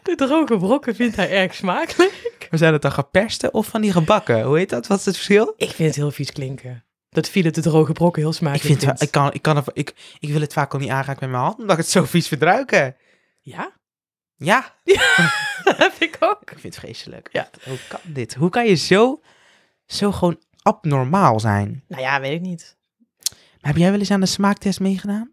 [SPEAKER 1] De droge brokken vindt hij erg smakelijk.
[SPEAKER 2] Maar zijn het dan geperste of van die gebakken? Hoe heet dat? Wat is het verschil?
[SPEAKER 1] Ik vind het heel vies klinken. Dat Philip de droge brokken heel
[SPEAKER 2] Ik,
[SPEAKER 1] smakelijk
[SPEAKER 2] vind het,
[SPEAKER 1] vindt.
[SPEAKER 2] wel- ik, kan, ik, kan er- ik, ik wil het vaak al niet aanraken met mijn hand, omdat ik het zo vies verdruiken.
[SPEAKER 1] Ja,
[SPEAKER 2] Ja,
[SPEAKER 1] dat heb ik ook.
[SPEAKER 2] ik vind het vreselijk.
[SPEAKER 1] Ja.
[SPEAKER 2] Hoe kan dit? Hoe kan je zo, zo gewoon abnormaal zijn?
[SPEAKER 1] Nou ja, weet ik niet.
[SPEAKER 2] Maar heb jij wel eens aan de smaaktest meegedaan?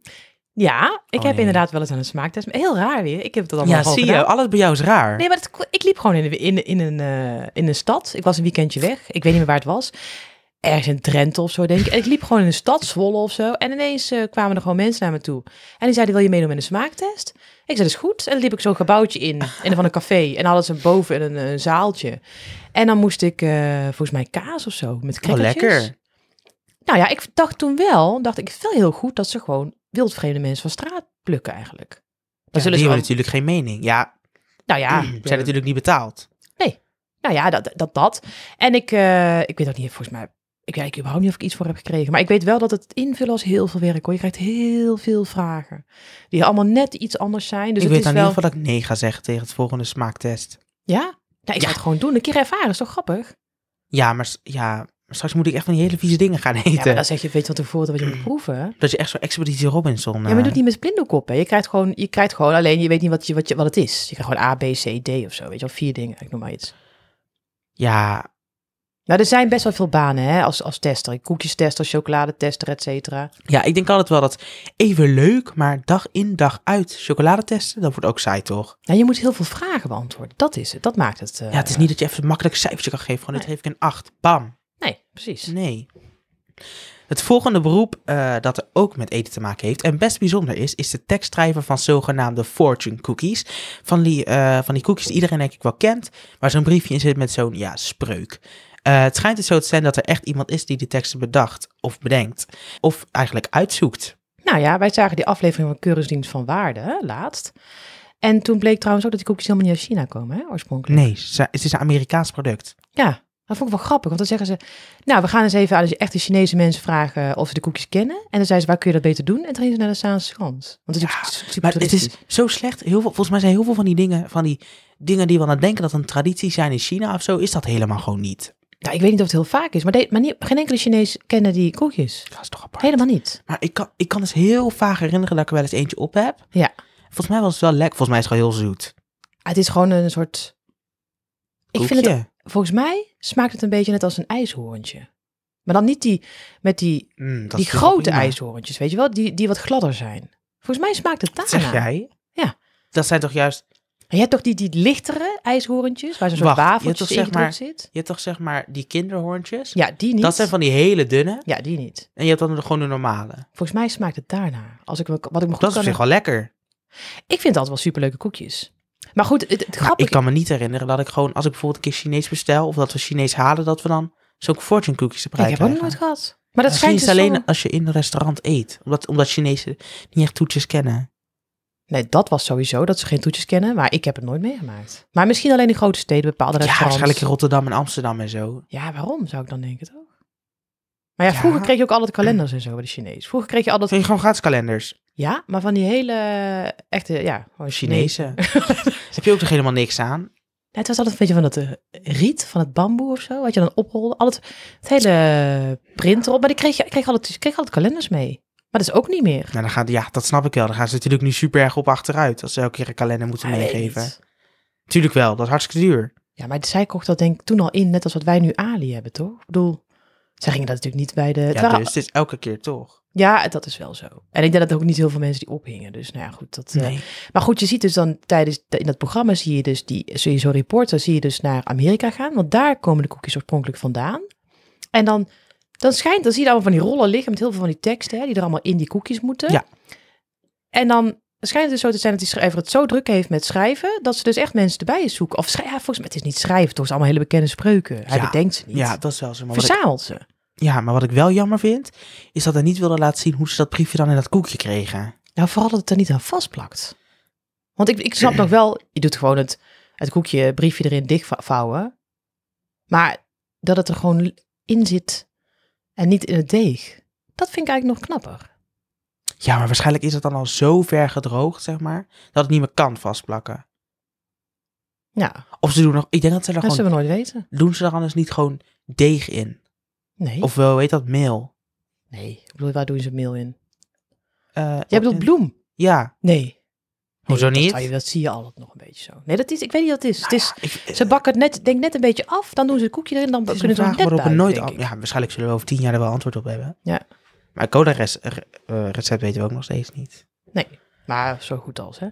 [SPEAKER 1] Ja, ik
[SPEAKER 2] Oh,
[SPEAKER 1] heb
[SPEAKER 2] nee.
[SPEAKER 1] inderdaad wel eens aan een smaaktest. Maar heel raar weer. Ik heb dat allemaal gewoon
[SPEAKER 2] zie je.
[SPEAKER 1] gedaan.
[SPEAKER 2] Alles bij jou is raar.
[SPEAKER 1] Nee, maar dat- ik liep gewoon in, de- in, in, een, eh, in een stad. Ik was een weekendje weg. Ik weet niet meer waar het was. Ergens in Drenthe of zo, denk ik. En ik liep gewoon in een stad, Zwolle of zo. En ineens eh, kwamen er gewoon mensen naar me toe. En die zeiden, wil je meedoen met een smaaktest? Ik zei, dat is goed. En dan liep ik zo'n gebouwtje in, in van een café. En dan hadden ze boven een, een zaaltje. En dan moest ik, eh, volgens mij, kaas of zo, met
[SPEAKER 2] Oh,
[SPEAKER 1] crackertjes.
[SPEAKER 2] lekker.
[SPEAKER 1] Nou ja, ik dacht toen wel, dacht ik, wel heel goed dat ze gewoon wildvreemde mensen van straat plukken eigenlijk. Dan
[SPEAKER 2] Dan
[SPEAKER 1] zullen
[SPEAKER 2] die
[SPEAKER 1] ze
[SPEAKER 2] hebben
[SPEAKER 1] wel-
[SPEAKER 2] natuurlijk geen mening. Ja,
[SPEAKER 1] nou ja,
[SPEAKER 2] zijn natuurlijk niet betaald.
[SPEAKER 1] Nou ja, dat, dat, dat. En ik, eh, ik weet ook niet, volgens mij, ik weet eigenlijk überhaupt niet of ik iets voor heb gekregen. Maar ik weet wel dat het invullen was heel veel werk hoor. Je krijgt heel veel vragen. Die allemaal net iets anders zijn. Dus
[SPEAKER 2] ik
[SPEAKER 1] het
[SPEAKER 2] weet
[SPEAKER 1] is
[SPEAKER 2] dan
[SPEAKER 1] wel...
[SPEAKER 2] in ieder geval dat ik nee ga zeggen tegen het volgende smaaktest.
[SPEAKER 1] Ja? Nou, ik
[SPEAKER 2] Ja.
[SPEAKER 1] ga het gewoon doen. Een keer ervaren, is toch grappig?
[SPEAKER 2] Ja maar, s- ja, maar straks moet ik echt van die hele vieze dingen gaan eten.
[SPEAKER 1] Ja, maar dan zeg je, weet je wat ervoor dat je
[SPEAKER 2] Mm.
[SPEAKER 1] moet proeven.
[SPEAKER 2] Dat je echt zo'n Expeditie Robinson...
[SPEAKER 1] Ja, maar je
[SPEAKER 2] eh,
[SPEAKER 1] doet niet met blinddoek op, hè. Je krijgt gewoon, je krijgt gewoon alleen, je weet niet wat, je, wat, je, wat het is. Je krijgt gewoon A, B, C, D of zo, weet je wel. Vier dingen, ik noem maar iets.
[SPEAKER 2] Ja,
[SPEAKER 1] Nou, er zijn best wel veel banen, hè, als, als tester. Koekjestester, chocoladetester, et cetera.
[SPEAKER 2] ja, ik denk altijd wel dat even leuk, maar dag in dag uit chocoladetesten, dat wordt ook saai toch?
[SPEAKER 1] Nou, je moet heel veel vragen beantwoorden. Dat is het. Dat maakt het. eh,
[SPEAKER 2] Ja, het is niet dat je even een makkelijk cijfertje kan geven, gewoon dit geef ik een 8, bam.
[SPEAKER 1] Nee, precies.
[SPEAKER 2] Nee. Het volgende beroep eh, dat er ook met eten te maken heeft en best bijzonder is, is de tekstschrijver van zogenaamde fortune cookies. Van die, eh, van die cookies die iedereen denk ik wel kent, waar zo'n briefje in zit met zo'n, ja, spreuk. Eh, het schijnt dus zo te zijn dat er echt iemand is die die teksten bedacht of bedenkt. Of eigenlijk uitzoekt.
[SPEAKER 1] Nou ja, wij zagen die aflevering van Keuringsdienst van Waarde hè, laatst. En toen bleek trouwens ook dat die koekjes helemaal niet uit China komen, hè, oorspronkelijk.
[SPEAKER 2] Nee, ze- het is een Amerikaans product.
[SPEAKER 1] Ja, dat vond ik wel grappig. Want dan zeggen ze, nou, we gaan eens even aan de echte Chinese mensen vragen of ze de koekjes kennen. En dan zeiden ze, waar kun je dat beter doen? En toen gingen ze naar de Saanse Schans. Want het is
[SPEAKER 2] Ja,
[SPEAKER 1] natuurlijk super
[SPEAKER 2] Maar het is
[SPEAKER 1] toeristisch.
[SPEAKER 2] zo slecht. Heel veel, volgens mij zijn heel veel van die dingen, van die dingen die we aan het denken dat een traditie zijn in China of zo, is dat helemaal gewoon niet.
[SPEAKER 1] Nou, ik weet niet of het heel vaak is, maar, de- maar niet, geen enkele Chinees kennen die koekjes.
[SPEAKER 2] Dat is toch apart.
[SPEAKER 1] Helemaal niet.
[SPEAKER 2] Maar ik kan, ik kan dus heel vaag herinneren dat ik er wel eens eentje op heb.
[SPEAKER 1] Ja.
[SPEAKER 2] Volgens mij was het wel lekker. Volgens mij is het gewoon heel zoet.
[SPEAKER 1] Het is gewoon een soort... Ik vind het
[SPEAKER 2] Koekje.
[SPEAKER 1] Volgens mij smaakt het een beetje net als een ijshoorntje. Maar dan niet die met die,
[SPEAKER 2] Mm, dat is
[SPEAKER 1] die
[SPEAKER 2] toch wel
[SPEAKER 1] grote
[SPEAKER 2] prima.
[SPEAKER 1] ijshoorntjes, weet je wel? Die, die wat gladder zijn. Volgens mij smaakt het
[SPEAKER 2] Wat
[SPEAKER 1] daarna.
[SPEAKER 2] Zeg jij?
[SPEAKER 1] Ah. Ja.
[SPEAKER 2] Dat zijn toch juist,
[SPEAKER 1] Je hebt toch die, die lichtere ijshoorntjes, waar zo'n soort
[SPEAKER 2] Wacht, je hebt
[SPEAKER 1] wafeltjes
[SPEAKER 2] toch
[SPEAKER 1] in
[SPEAKER 2] zeg maar-
[SPEAKER 1] gedrukt zit?
[SPEAKER 2] je hebt toch zeg maar die kinderhoorntjes?
[SPEAKER 1] Ja, die niet.
[SPEAKER 2] Dat zijn van die hele dunne.
[SPEAKER 1] Ja, die niet.
[SPEAKER 2] En je hebt dan gewoon de normale.
[SPEAKER 1] Volgens mij smaakt het daarna. Als ik, me- wat ik me goed
[SPEAKER 2] Dat is
[SPEAKER 1] kan...
[SPEAKER 2] op zich wel lekker.
[SPEAKER 1] Ik vind het altijd wel superleuke koekjes. Maar goed, het, het
[SPEAKER 2] Maar
[SPEAKER 1] grappige...
[SPEAKER 2] ik kan me niet herinneren dat ik gewoon, als ik bijvoorbeeld een keer Chinees bestel of dat we Chinees halen, dat we dan zo'n fortune cookies erbij
[SPEAKER 1] ik heb ook
[SPEAKER 2] krijgen.
[SPEAKER 1] nog nooit gehad. Maar dat
[SPEAKER 2] Misschien
[SPEAKER 1] schijnt
[SPEAKER 2] is
[SPEAKER 1] dus
[SPEAKER 2] het alleen
[SPEAKER 1] zo'n-
[SPEAKER 2] als je in een restaurant eet, omdat, omdat Chinezen niet echt toetjes kennen.
[SPEAKER 1] Nee, dat was sowieso, dat ze geen toetjes kennen. Maar ik heb het nooit meegemaakt. Maar misschien alleen in grote steden, bepaalde
[SPEAKER 2] Ja,
[SPEAKER 1] restaurants.
[SPEAKER 2] waarschijnlijk in Rotterdam en Amsterdam en zo.
[SPEAKER 1] Ja, waarom zou ik dan denken toch? Maar ja,
[SPEAKER 2] Ja.
[SPEAKER 1] vroeger kreeg je ook altijd kalenders en zo bij de Chinees. Vroeger kreeg je
[SPEAKER 2] Dat
[SPEAKER 1] altijd,
[SPEAKER 2] zijn gewoon gratis kalenders.
[SPEAKER 1] ja, maar van die hele eh, echte, ja, gewoon Chinees.
[SPEAKER 2] Chinezen. Daar heb je ook toch helemaal niks aan?
[SPEAKER 1] Ja, het was altijd een beetje van dat eh, riet, van het bamboe of zo, wat je dan oprolde. Altijd het hele print erop, maar die kreeg je, ik kreeg altijd, ik kreeg altijd kalenders mee. Maar dat is ook niet meer.
[SPEAKER 2] Nou, dan gaat, ja, dat snap ik wel. Dan gaan ze natuurlijk nu super erg op achteruit als ze elke keer een kalender moeten
[SPEAKER 1] Ja, weet
[SPEAKER 2] meegeven.
[SPEAKER 1] Ah, niet.
[SPEAKER 2] Tuurlijk wel, dat is hartstikke duur.
[SPEAKER 1] Ja, maar zij kocht dat denk ik toen al in, net als wat wij nu Ali hebben, toch? Ik bedoel, zij gingen dat natuurlijk niet bij de... het
[SPEAKER 2] Ja,
[SPEAKER 1] waren-
[SPEAKER 2] dus het is elke keer toch.
[SPEAKER 1] ja, dat is wel zo. En ik denk dat er ook niet heel veel mensen die ophingen. Dus nou ja, goed, dat... eh, Maar goed, je ziet dus dan tijdens de- in dat programma zie je dus die sowieso reporter zie je dus naar Amerika gaan, want daar komen de koekjes oorspronkelijk vandaan. En dan, dan schijnt, dan zie je allemaal van die rollen liggen met heel veel van die teksten, hè, die er allemaal in die koekjes moeten.
[SPEAKER 2] Ja.
[SPEAKER 1] En dan schijnt het dus zo te zijn dat die schrijver het zo druk heeft met schrijven, dat ze dus echt mensen erbij zoeken. Of schrijven, ja, volgens mij, het is niet schrijven, toch? Het is allemaal hele bekende spreuken. Hij
[SPEAKER 2] Ja.
[SPEAKER 1] bedenkt ze niet.
[SPEAKER 2] Ja, dat is wel zo. Maar wat ik-
[SPEAKER 1] Verzamelt ze.
[SPEAKER 2] Ja, maar wat ik wel jammer vind, is dat hij niet wilde laten zien hoe ze dat briefje dan in dat koekje kregen.
[SPEAKER 1] Nou, vooral dat het er niet aan vastplakt. Want ik, ik snap nog wel, je doet gewoon het, het koekje, briefje erin dichtvouwen. Maar dat het er gewoon in zit en niet in het deeg. Dat vind ik eigenlijk nog knapper.
[SPEAKER 2] Ja, maar waarschijnlijk is het dan al zo ver gedroogd, zeg maar, dat het niet meer kan vastplakken.
[SPEAKER 1] Ja,
[SPEAKER 2] Of ze doen nog, ik denk dat ze er
[SPEAKER 1] dat
[SPEAKER 2] gewoon,
[SPEAKER 1] zullen we nooit weten.
[SPEAKER 2] doen ze er anders niet gewoon deeg in?
[SPEAKER 1] Nee.
[SPEAKER 2] Of wel, weet dat, meel?
[SPEAKER 1] nee. Ik bedoel, waar doen ze meel in?
[SPEAKER 2] Eh,
[SPEAKER 1] Jij bedoelt
[SPEAKER 2] in-
[SPEAKER 1] bloem?
[SPEAKER 2] Ja.
[SPEAKER 1] Nee. Nee,
[SPEAKER 2] Hoezo
[SPEAKER 1] dat
[SPEAKER 2] niet?
[SPEAKER 1] zou je- dat zie je altijd nog een beetje zo. Nee, dat is, ik weet niet wat het is.
[SPEAKER 2] Nou
[SPEAKER 1] het is
[SPEAKER 2] ja, ik-
[SPEAKER 1] Ze bakken het net, denk net een beetje af, dan doen ze het koekje erin, dan
[SPEAKER 2] Het is
[SPEAKER 1] kunnen
[SPEAKER 2] een
[SPEAKER 1] ze
[SPEAKER 2] vraag
[SPEAKER 1] het net
[SPEAKER 2] waarop we
[SPEAKER 1] buiten,
[SPEAKER 2] nooit...
[SPEAKER 1] denk
[SPEAKER 2] an-
[SPEAKER 1] ik.
[SPEAKER 2] Ja, waarschijnlijk zullen we over tien jaar er wel antwoord op hebben.
[SPEAKER 1] Ja.
[SPEAKER 2] Maar cola-recept eh, weten we ook nog steeds niet.
[SPEAKER 1] Maar zo goed als, hè.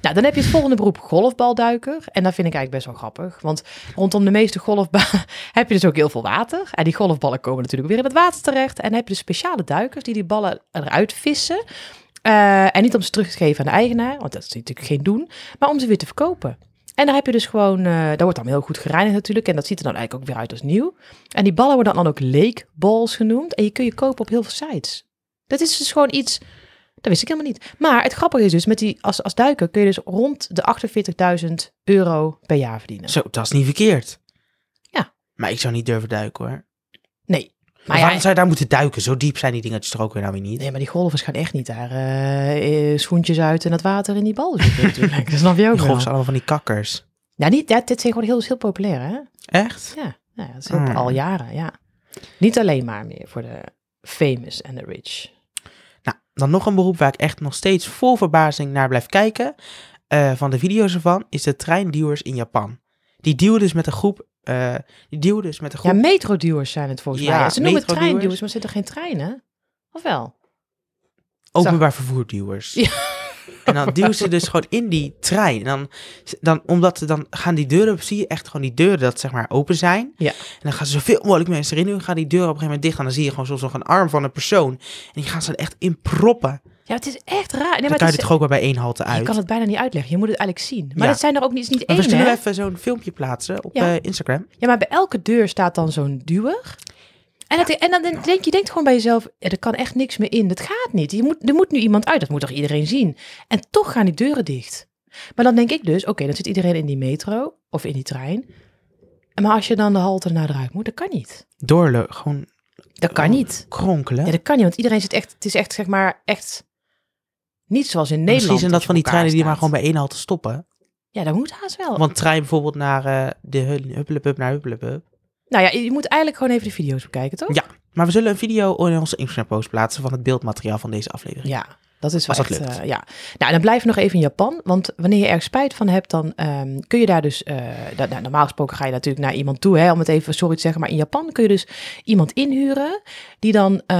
[SPEAKER 1] Nou, dan heb je het volgende beroep, golfbalduiker. En dat vind ik eigenlijk best wel grappig. Want rondom de meeste golfballen heb je dus ook heel veel water. En die golfballen komen natuurlijk weer in het water terecht. En dan heb je dus speciale duikers die die ballen eruit vissen. Eh, en niet om ze terug te geven aan de eigenaar, want dat is natuurlijk geen doen. Maar om ze weer te verkopen. En daar heb je dus gewoon, eh daar wordt dan heel goed gereinigd natuurlijk. En dat ziet er dan eigenlijk ook weer uit als nieuw. En die ballen worden dan ook leekballs genoemd. En je kun je kopen op heel veel sites. Dat is dus gewoon iets, dat wist ik helemaal niet. Maar het grappige is dus, met die, als, als duiker kun je dus rond de 48.000 euro per jaar verdienen.
[SPEAKER 2] Zo, dat is niet verkeerd.
[SPEAKER 1] Ja.
[SPEAKER 2] Maar ik zou niet durven duiken, hoor.
[SPEAKER 1] Nee.
[SPEAKER 2] Maar
[SPEAKER 1] Maar
[SPEAKER 2] waarom
[SPEAKER 1] ja,
[SPEAKER 2] zou je daar moeten duiken? Zo diep zijn die dingetjes er ook weer nou weer niet.
[SPEAKER 1] nee, maar die golfers gaan echt niet daar eh, eh, schoentjes uit en dat water in die bal zitten natuurlijk. Dat snap je ook
[SPEAKER 2] die golf zijn
[SPEAKER 1] wel.
[SPEAKER 2] allemaal van die kakkers.
[SPEAKER 1] Ja, niet, ja, dit zijn gewoon heel, heel populair, hè?
[SPEAKER 2] Echt?
[SPEAKER 1] Ja, ja dat is ook
[SPEAKER 2] Mm.
[SPEAKER 1] al jaren, ja. Niet alleen maar meer voor de famous en de rich.
[SPEAKER 2] Nou, dan nog een beroep waar ik echt nog steeds vol verbazing naar blijf kijken. eh, van de video's ervan, is de treinduwers in Japan. Die duwen dus met een groep... eh, die duwen dus met een groep...
[SPEAKER 1] Ja, metroduwers zijn het volgens
[SPEAKER 2] Ja,
[SPEAKER 1] mij. Ze noemen het
[SPEAKER 2] metroduwers.
[SPEAKER 1] treinduwers, maar er zitten geen treinen. Of wel?
[SPEAKER 2] openbaar vervoerduwers.
[SPEAKER 1] Ja.
[SPEAKER 2] En dan duwen ze dus gewoon in die trein. En dan, dan, omdat ze dan gaan die deuren, zie je echt gewoon die deuren dat zeg maar open zijn.
[SPEAKER 1] Ja.
[SPEAKER 2] En dan gaan ze zoveel mogelijk mensen erin doen. Gaan die deuren op een gegeven moment dicht. En dan zie je gewoon soms nog een arm van een persoon. En die gaan ze dan echt in proppen.
[SPEAKER 1] Ja, het is echt raar. Nee, maar
[SPEAKER 2] dan kan
[SPEAKER 1] het
[SPEAKER 2] je
[SPEAKER 1] is,
[SPEAKER 2] het toch ook maar bij één halte uit.
[SPEAKER 1] je kan het bijna niet uitleggen. Je moet het eigenlijk zien. Maar
[SPEAKER 2] Ja.
[SPEAKER 1] dat zijn er ook niet, is niet
[SPEAKER 2] Maar
[SPEAKER 1] één,
[SPEAKER 2] we zullen
[SPEAKER 1] hè?
[SPEAKER 2] even zo'n filmpje plaatsen op
[SPEAKER 1] Ja.
[SPEAKER 2] eh, Instagram.
[SPEAKER 1] Ja, maar bij elke deur staat dan zo'n duwer. En, dat, en dan denk je denkt gewoon bij jezelf, ja, er kan echt niks meer in. Dat gaat niet. Je moet, er moet nu iemand uit. Dat moet toch iedereen zien. En toch gaan die deuren dicht. Maar dan denk ik dus, oké, dan zit iedereen in die metro of in die trein. Maar als je dan de halte naar eruit moet, dat kan niet.
[SPEAKER 2] Doorle, gewoon
[SPEAKER 1] Dat kan
[SPEAKER 2] Oh.
[SPEAKER 1] niet.
[SPEAKER 2] kronkelen.
[SPEAKER 1] Ja, dat kan niet, want iedereen zit echt, het is echt, zeg maar, echt niet zoals in
[SPEAKER 2] En
[SPEAKER 1] Nederland.
[SPEAKER 2] Misschien zijn dat
[SPEAKER 1] je
[SPEAKER 2] van die
[SPEAKER 1] op elkaar
[SPEAKER 2] treinen die maar
[SPEAKER 1] staat. Oh.
[SPEAKER 2] gewoon bij één halte stoppen.
[SPEAKER 1] Ja, dat moet haast wel.
[SPEAKER 2] Want trein bijvoorbeeld naar eh, de Hul- Huppelepup naar Huppelepup.
[SPEAKER 1] Nou ja, je moet eigenlijk gewoon even de video's bekijken, toch?
[SPEAKER 2] Ja, maar we zullen een video in onze Instagram-post plaatsen van het beeldmateriaal van deze aflevering.
[SPEAKER 1] Ja, dat is wel
[SPEAKER 2] Als dat
[SPEAKER 1] echt,
[SPEAKER 2] lukt.
[SPEAKER 1] eh, ja. Nou, dan blijf nog even in Japan. Want wanneer je erg spijt van hebt, dan ehm, kun je daar dus... eh, da- nou, normaal gesproken ga je natuurlijk naar iemand toe, hè, om het even sorry te zeggen. Maar in Japan kun je dus iemand inhuren die dan eh,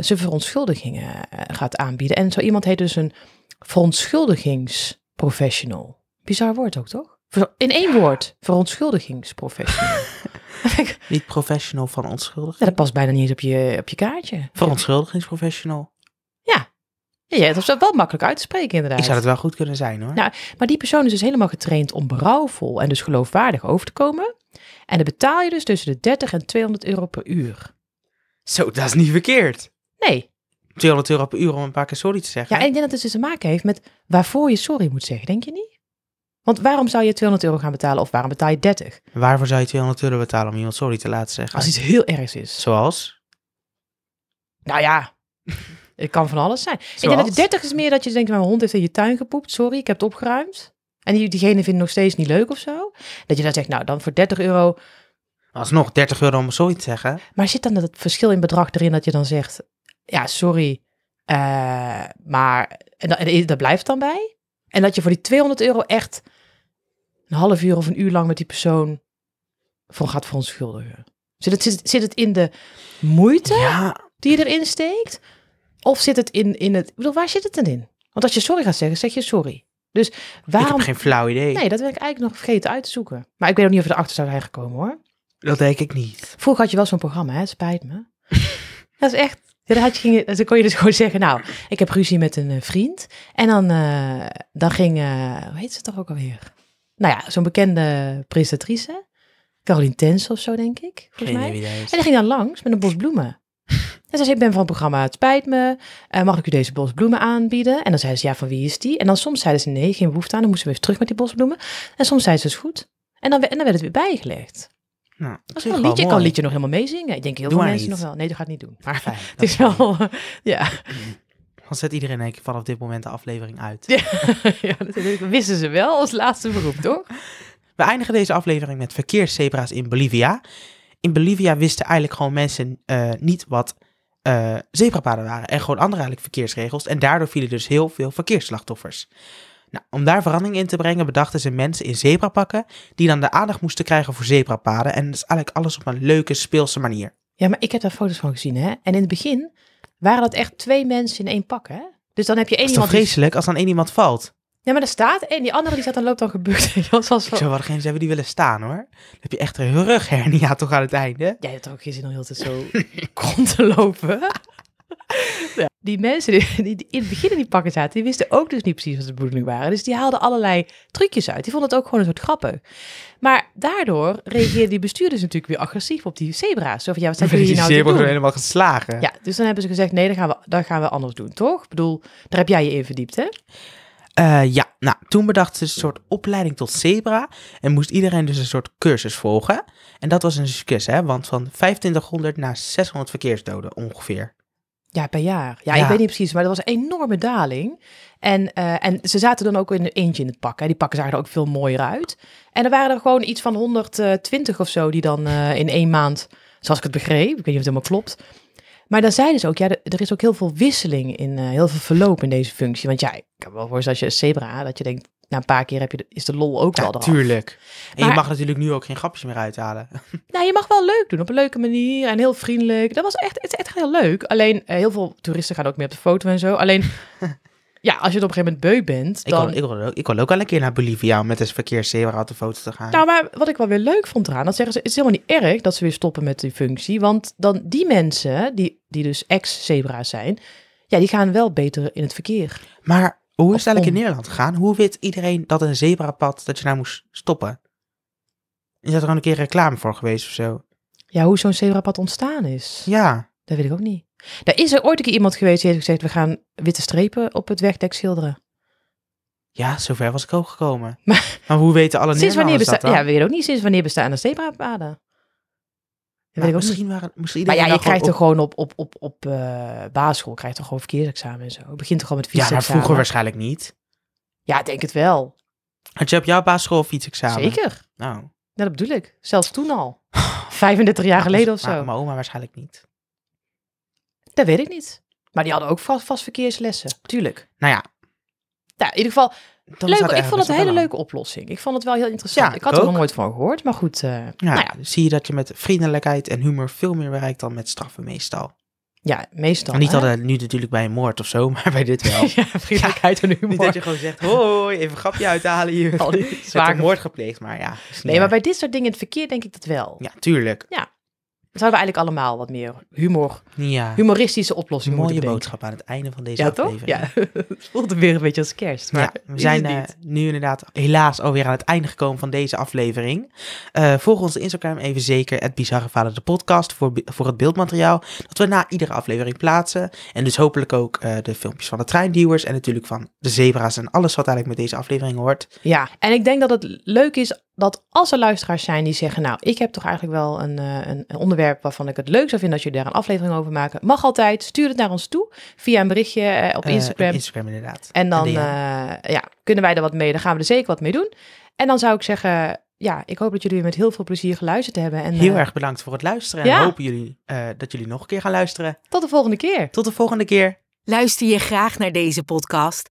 [SPEAKER 1] zijn verontschuldigingen eh, gaat aanbieden. En zo iemand heet dus een verontschuldigingsprofessional. Bizar woord ook, toch? Ver- In één woord, verontschuldigingsprofessional.
[SPEAKER 2] Niet professional van onschuldig.
[SPEAKER 1] ja, dat past bijna niet eens op je, op je kaartje.
[SPEAKER 2] Verontschuldigingsprofessional.
[SPEAKER 1] Ja, dat is wel makkelijk uit te spreken inderdaad.
[SPEAKER 2] Ik zou het wel goed kunnen zijn hoor.
[SPEAKER 1] Nou, Maar die persoon is dus helemaal getraind om berouwvol en dus geloofwaardig over te komen. En dan betaal je dus tussen de 30 en 200 euro per uur.
[SPEAKER 2] Zo, dat is niet verkeerd.
[SPEAKER 1] Nee.
[SPEAKER 2] 200 euro per uur om een paar keer sorry te zeggen.
[SPEAKER 1] Ja, en ik denk dat het dus te maken heeft met waarvoor je sorry moet zeggen, denk je niet? Want waarom zou je 200 euro gaan betalen of waarom betaal je 30?
[SPEAKER 2] Waarvoor zou je 200 euro betalen om iemand sorry te laten zeggen?
[SPEAKER 1] Als iets heel ergs is.
[SPEAKER 2] Zoals?
[SPEAKER 1] Nou ja, het kan van alles zijn. Ik denk dat
[SPEAKER 2] Zoals?
[SPEAKER 1] de 30 is meer dat je denkt, mijn hond heeft in je tuin gepoept, sorry, ik heb het opgeruimd. En die, diegene vindt het nog steeds niet leuk of zo. Dat je dan zegt, nou dan voor 30 euro
[SPEAKER 2] Alsnog 30 euro om sorry te zeggen.
[SPEAKER 1] Maar zit dan dat verschil in bedrag erin dat je dan zegt, ja, sorry, eh, maar en dat, en dat blijft dan bij? En dat je voor die 200 euro echt een half uur of een uur lang met die persoon voor gaat verontschuldigen? Zit het, zit, zit het in de moeite
[SPEAKER 2] Ja,
[SPEAKER 1] die je erin steekt? Of zit het in, in het... Ik bedoel, waar zit het dan in? Want als je sorry gaat zeggen, zeg je sorry. Dus
[SPEAKER 2] ik heb
[SPEAKER 1] waarom...
[SPEAKER 2] geen flauw idee.
[SPEAKER 1] Nee, dat ben ik eigenlijk nog vergeten uit te zoeken. Maar ik weet ook niet of we erachter zou zijn gekomen, hoor.
[SPEAKER 2] Dat denk ik niet.
[SPEAKER 1] Vroeger had je wel zo'n programma, hè? Spijt me. dat is echt. ja, Dan, had je, ging, je- dan kon je dus gewoon zeggen, nou, ik heb ruzie met een eh, vriend. En dan, eh, dan ging, eh, hoe heet ze toch ook alweer? Nou ja, zo'n bekende presentatrice. Caroline Tens of zo, denk ik, volgens
[SPEAKER 2] Geen
[SPEAKER 1] mij.
[SPEAKER 2] idee wie dat is.
[SPEAKER 1] En die ging dan langs met een bos bloemen. En ze zei, ik ben van het programma Het Spijt Me. Eh, mag ik u deze bos bloemen aanbieden? En dan zei ze, ja, van wie is die? En dan soms zeiden ze, nee, geen behoefte aan. Dan moesten we even terug met die bosbloemen. En soms zeiden ze, is goed. En dan, we- en dan werd het weer bijgelegd.
[SPEAKER 2] Nou,
[SPEAKER 1] Dat is wel een liedje. Ik kan
[SPEAKER 2] mooi.
[SPEAKER 1] een liedje nog helemaal meezingen. Ik denk heel veel
[SPEAKER 2] Doe maar
[SPEAKER 1] mensen
[SPEAKER 2] niet.
[SPEAKER 1] nog wel. Nee, dat gaat niet doen. Maar
[SPEAKER 2] Fijn,
[SPEAKER 1] het is
[SPEAKER 2] dat-
[SPEAKER 1] wel... ja.
[SPEAKER 2] Dan zet iedereen eigenlijk vanaf dit moment de aflevering uit.
[SPEAKER 1] Ja, eh, ja, dat wisten ze wel als laatste beroep, toch?
[SPEAKER 2] We eindigen deze aflevering met verkeerszebra's in Bolivia. In Bolivia wisten eigenlijk gewoon mensen eh, niet wat eh, zebrapaden waren. En gewoon andere eigenlijk verkeersregels. En daardoor vielen dus heel veel verkeersslachtoffers. Nou, om daar verandering in te brengen bedachten ze mensen in zebrapakken... die dan de aandacht moesten krijgen voor zebrapaden. En dat is eigenlijk alles op een leuke, speelse manier.
[SPEAKER 1] Ja, maar ik heb daar foto's van gezien, hè? En in het begin waren dat echt twee mensen in één pak, hè? Dus dan heb je één
[SPEAKER 2] Het is toch
[SPEAKER 1] iemand... Die...
[SPEAKER 2] vreselijk als dan één iemand valt?
[SPEAKER 1] Ja, maar er staat één. Die andere die staat dan loopt dan gebukt. Dat was
[SPEAKER 2] Ik
[SPEAKER 1] van...
[SPEAKER 2] zou wel degene hebben die willen staan, hoor. Dan heb je echt een rughernia toch aan het einde.
[SPEAKER 1] Jij hebt toch ook geen zin om heel de tijd zo rond te lopen? Ja. Die mensen die, die- die in het begin in die pakken zaten, die wisten ook dus niet precies wat de bedoeling waren. Dus die haalden allerlei trucjes uit. Die vonden het ook gewoon een soort grappig. Maar daardoor reageerden die bestuurders natuurlijk weer agressief op die zebra's. Zo van, ja, wat zijn jullie
[SPEAKER 2] Die
[SPEAKER 1] hier nou te
[SPEAKER 2] zeebel
[SPEAKER 1] doen?
[SPEAKER 2] helemaal geslagen.
[SPEAKER 1] Ja, dus dan hebben ze gezegd, nee, dat gaan we, dat gaan we anders doen, toch? Ik bedoel, daar heb jij je in verdiept, hè?
[SPEAKER 2] Eh, ja, nou, toen bedacht ze een soort opleiding tot zebra en moest iedereen dus een soort cursus volgen. En dat was een succes, hè, want van 2500 naar 600 verkeersdoden ongeveer.
[SPEAKER 1] Ja, per jaar. Ja,
[SPEAKER 2] Ja.
[SPEAKER 1] ik weet niet precies, maar dat was een enorme daling. En, eh, en ze zaten dan ook in een eentje in het pak. Hè. Die pakken zagen er ook veel mooier uit. En er waren er gewoon iets van 120 of zo die dan eh, in één maand, zoals ik het begreep, ik weet niet of het helemaal klopt. Maar dan zeiden ze ook, ja, er- er is ook heel veel wisseling in, eh, heel veel verloop in deze functie. Want ja, ik kan me wel voorstellen als je een zebra, dat je denkt, na een paar keer heb je de- is de lol ook wel
[SPEAKER 2] Ja,
[SPEAKER 1] eraf.
[SPEAKER 2] tuurlijk. En je
[SPEAKER 1] Maar-
[SPEAKER 2] mag natuurlijk nu ook geen grapjes meer uithalen.
[SPEAKER 1] Nou, je mag wel leuk doen op een leuke manier en heel vriendelijk. Dat was echt, het is echt heel leuk. Alleen eh, heel veel toeristen gaan ook mee op de foto en zo. Alleen, ja, als je het op een gegeven moment beu bent,
[SPEAKER 2] Ik, wil,
[SPEAKER 1] dan.
[SPEAKER 2] ik, wil, ook- ik wil ook wel een keer naar Bolivia om met een verkeerszebra op de foto te gaan.
[SPEAKER 1] Nou, maar wat ik wel weer leuk vond eraan, dat zeggen ze, het is helemaal niet erg dat ze weer stoppen met die functie. Want dan die mensen, die, die dus ex-zebra's zijn, ja, die gaan wel beter in het verkeer.
[SPEAKER 2] maar hoe is het
[SPEAKER 1] Om-
[SPEAKER 2] eigenlijk in Nederland gegaan? Hoe weet iedereen dat een zebrapad, dat je nou moest stoppen? Is dat er gewoon een keer reclame voor geweest of zo?
[SPEAKER 1] Ja, hoe zo'n zebrapad ontstaan is,
[SPEAKER 2] Ja,
[SPEAKER 1] dat weet ik ook niet. Daar is er ooit een keer iemand geweest die heeft gezegd, we gaan witte strepen op het wegdek schilderen.
[SPEAKER 2] ja zover was ik ook gekomen. Maar, hoe weten alle
[SPEAKER 1] Sinds wanneer
[SPEAKER 2] Nederlanders dat
[SPEAKER 1] bestaan?
[SPEAKER 2] dan?
[SPEAKER 1] Ja, we weten ook niet sinds wanneer bestaan de zebrapaden. Dat weet ik
[SPEAKER 2] Nou,
[SPEAKER 1] ook niet.
[SPEAKER 2] misschien waren misschien
[SPEAKER 1] Maar ja,
[SPEAKER 2] iedereen
[SPEAKER 1] je
[SPEAKER 2] nou
[SPEAKER 1] krijgt er
[SPEAKER 2] gewoon
[SPEAKER 1] gewoon op, op, op, op eh basisschool krijg je toch gewoon verkeersexamen en zo. Het begint toch gewoon met
[SPEAKER 2] op- Ja, maar
[SPEAKER 1] fietsexamen.
[SPEAKER 2] vroeger waarschijnlijk niet.
[SPEAKER 1] Ja, ik denk het wel.
[SPEAKER 2] Had je op jouw basisschool fietsexamen?
[SPEAKER 1] Zeker.
[SPEAKER 2] Nou,
[SPEAKER 1] Ja, dat bedoel ik. Zelfs toen al. 35 jaar geleden of
[SPEAKER 2] maar-
[SPEAKER 1] zo.
[SPEAKER 2] Mijn oma waarschijnlijk niet.
[SPEAKER 1] Dat weet ik niet. Maar die hadden ook vast, vast verkeerslessen. Tuurlijk.
[SPEAKER 2] Nou ja.
[SPEAKER 1] Nou, in ieder geval,
[SPEAKER 2] Dan
[SPEAKER 1] leuk,
[SPEAKER 2] staat er
[SPEAKER 1] ik vond het een hele
[SPEAKER 2] eigenlijk
[SPEAKER 1] leuke oplossing. Ik vond het wel heel interessant.
[SPEAKER 2] Ja,
[SPEAKER 1] ik had
[SPEAKER 2] ik
[SPEAKER 1] er
[SPEAKER 2] ook.
[SPEAKER 1] nog nooit van gehoord, maar goed. eh,
[SPEAKER 2] best wel
[SPEAKER 1] Nou
[SPEAKER 2] lang.
[SPEAKER 1] ja,
[SPEAKER 2] Ja, zie je dat je met vriendelijkheid en humor veel meer bereikt dan met straffen meestal.
[SPEAKER 1] ja, meestal.
[SPEAKER 2] En niet
[SPEAKER 1] hè?
[SPEAKER 2] dat het nu natuurlijk bij een moord of zo, maar bij dit wel.
[SPEAKER 1] Ja, vriendelijkheid en humor.
[SPEAKER 2] niet dat je gewoon zegt, hoi, even een grapje uithalen hier.
[SPEAKER 1] Al die
[SPEAKER 2] Er werd
[SPEAKER 1] zware-
[SPEAKER 2] een moord gepleegd, maar ja. is niet
[SPEAKER 1] Nee, maar
[SPEAKER 2] erg.
[SPEAKER 1] bij dit soort dingen in het verkeer denk ik dat wel.
[SPEAKER 2] Ja, tuurlijk.
[SPEAKER 1] Zouden we eigenlijk allemaal wat meer humor,
[SPEAKER 2] Ja.
[SPEAKER 1] humoristische oplossingen
[SPEAKER 2] Mooie
[SPEAKER 1] moeten
[SPEAKER 2] boodschap aan het einde van deze
[SPEAKER 1] bedenken. Ja, toch?
[SPEAKER 2] aflevering.
[SPEAKER 1] Ja, het voelt weer een beetje als kerst. Maar
[SPEAKER 2] ja, we
[SPEAKER 1] is
[SPEAKER 2] zijn
[SPEAKER 1] het
[SPEAKER 2] eh,
[SPEAKER 1] niet.
[SPEAKER 2] nu inderdaad helaas alweer aan het einde gekomen van deze aflevering. Eh volg ons Instagram even zeker, het Bizarre Vader de podcast, voor, be- voor het beeldmateriaal dat we na iedere aflevering plaatsen. En dus hopelijk ook eh, de filmpjes van de treinduwers en natuurlijk van de zebra's en alles wat eigenlijk met deze aflevering hoort.
[SPEAKER 1] Ja, en ik denk dat het leuk is dat als er luisteraars zijn die zeggen... nou, ik heb toch eigenlijk wel een, eh, een, een onderwerp waarvan ik het leuk zou vinden... dat jullie daar een aflevering over maken. Mag altijd, stuur het naar ons toe via een berichtje eh, op
[SPEAKER 2] Eh,
[SPEAKER 1] Instagram.
[SPEAKER 2] Instagram inderdaad.
[SPEAKER 1] En dan
[SPEAKER 2] Een DM.
[SPEAKER 1] eh, ja, kunnen wij er wat mee. Dan gaan we er zeker wat mee doen. En dan zou ik zeggen, ja, ik hoop dat jullie met heel veel plezier geluisterd hebben. En
[SPEAKER 2] Heel
[SPEAKER 1] eh,
[SPEAKER 2] erg bedankt voor het luisteren en
[SPEAKER 1] ja.
[SPEAKER 2] we hopen jullie, eh, dat jullie nog een keer gaan luisteren.
[SPEAKER 1] tot de volgende keer.
[SPEAKER 2] Tot de volgende keer.
[SPEAKER 3] Luister je graag naar deze podcast?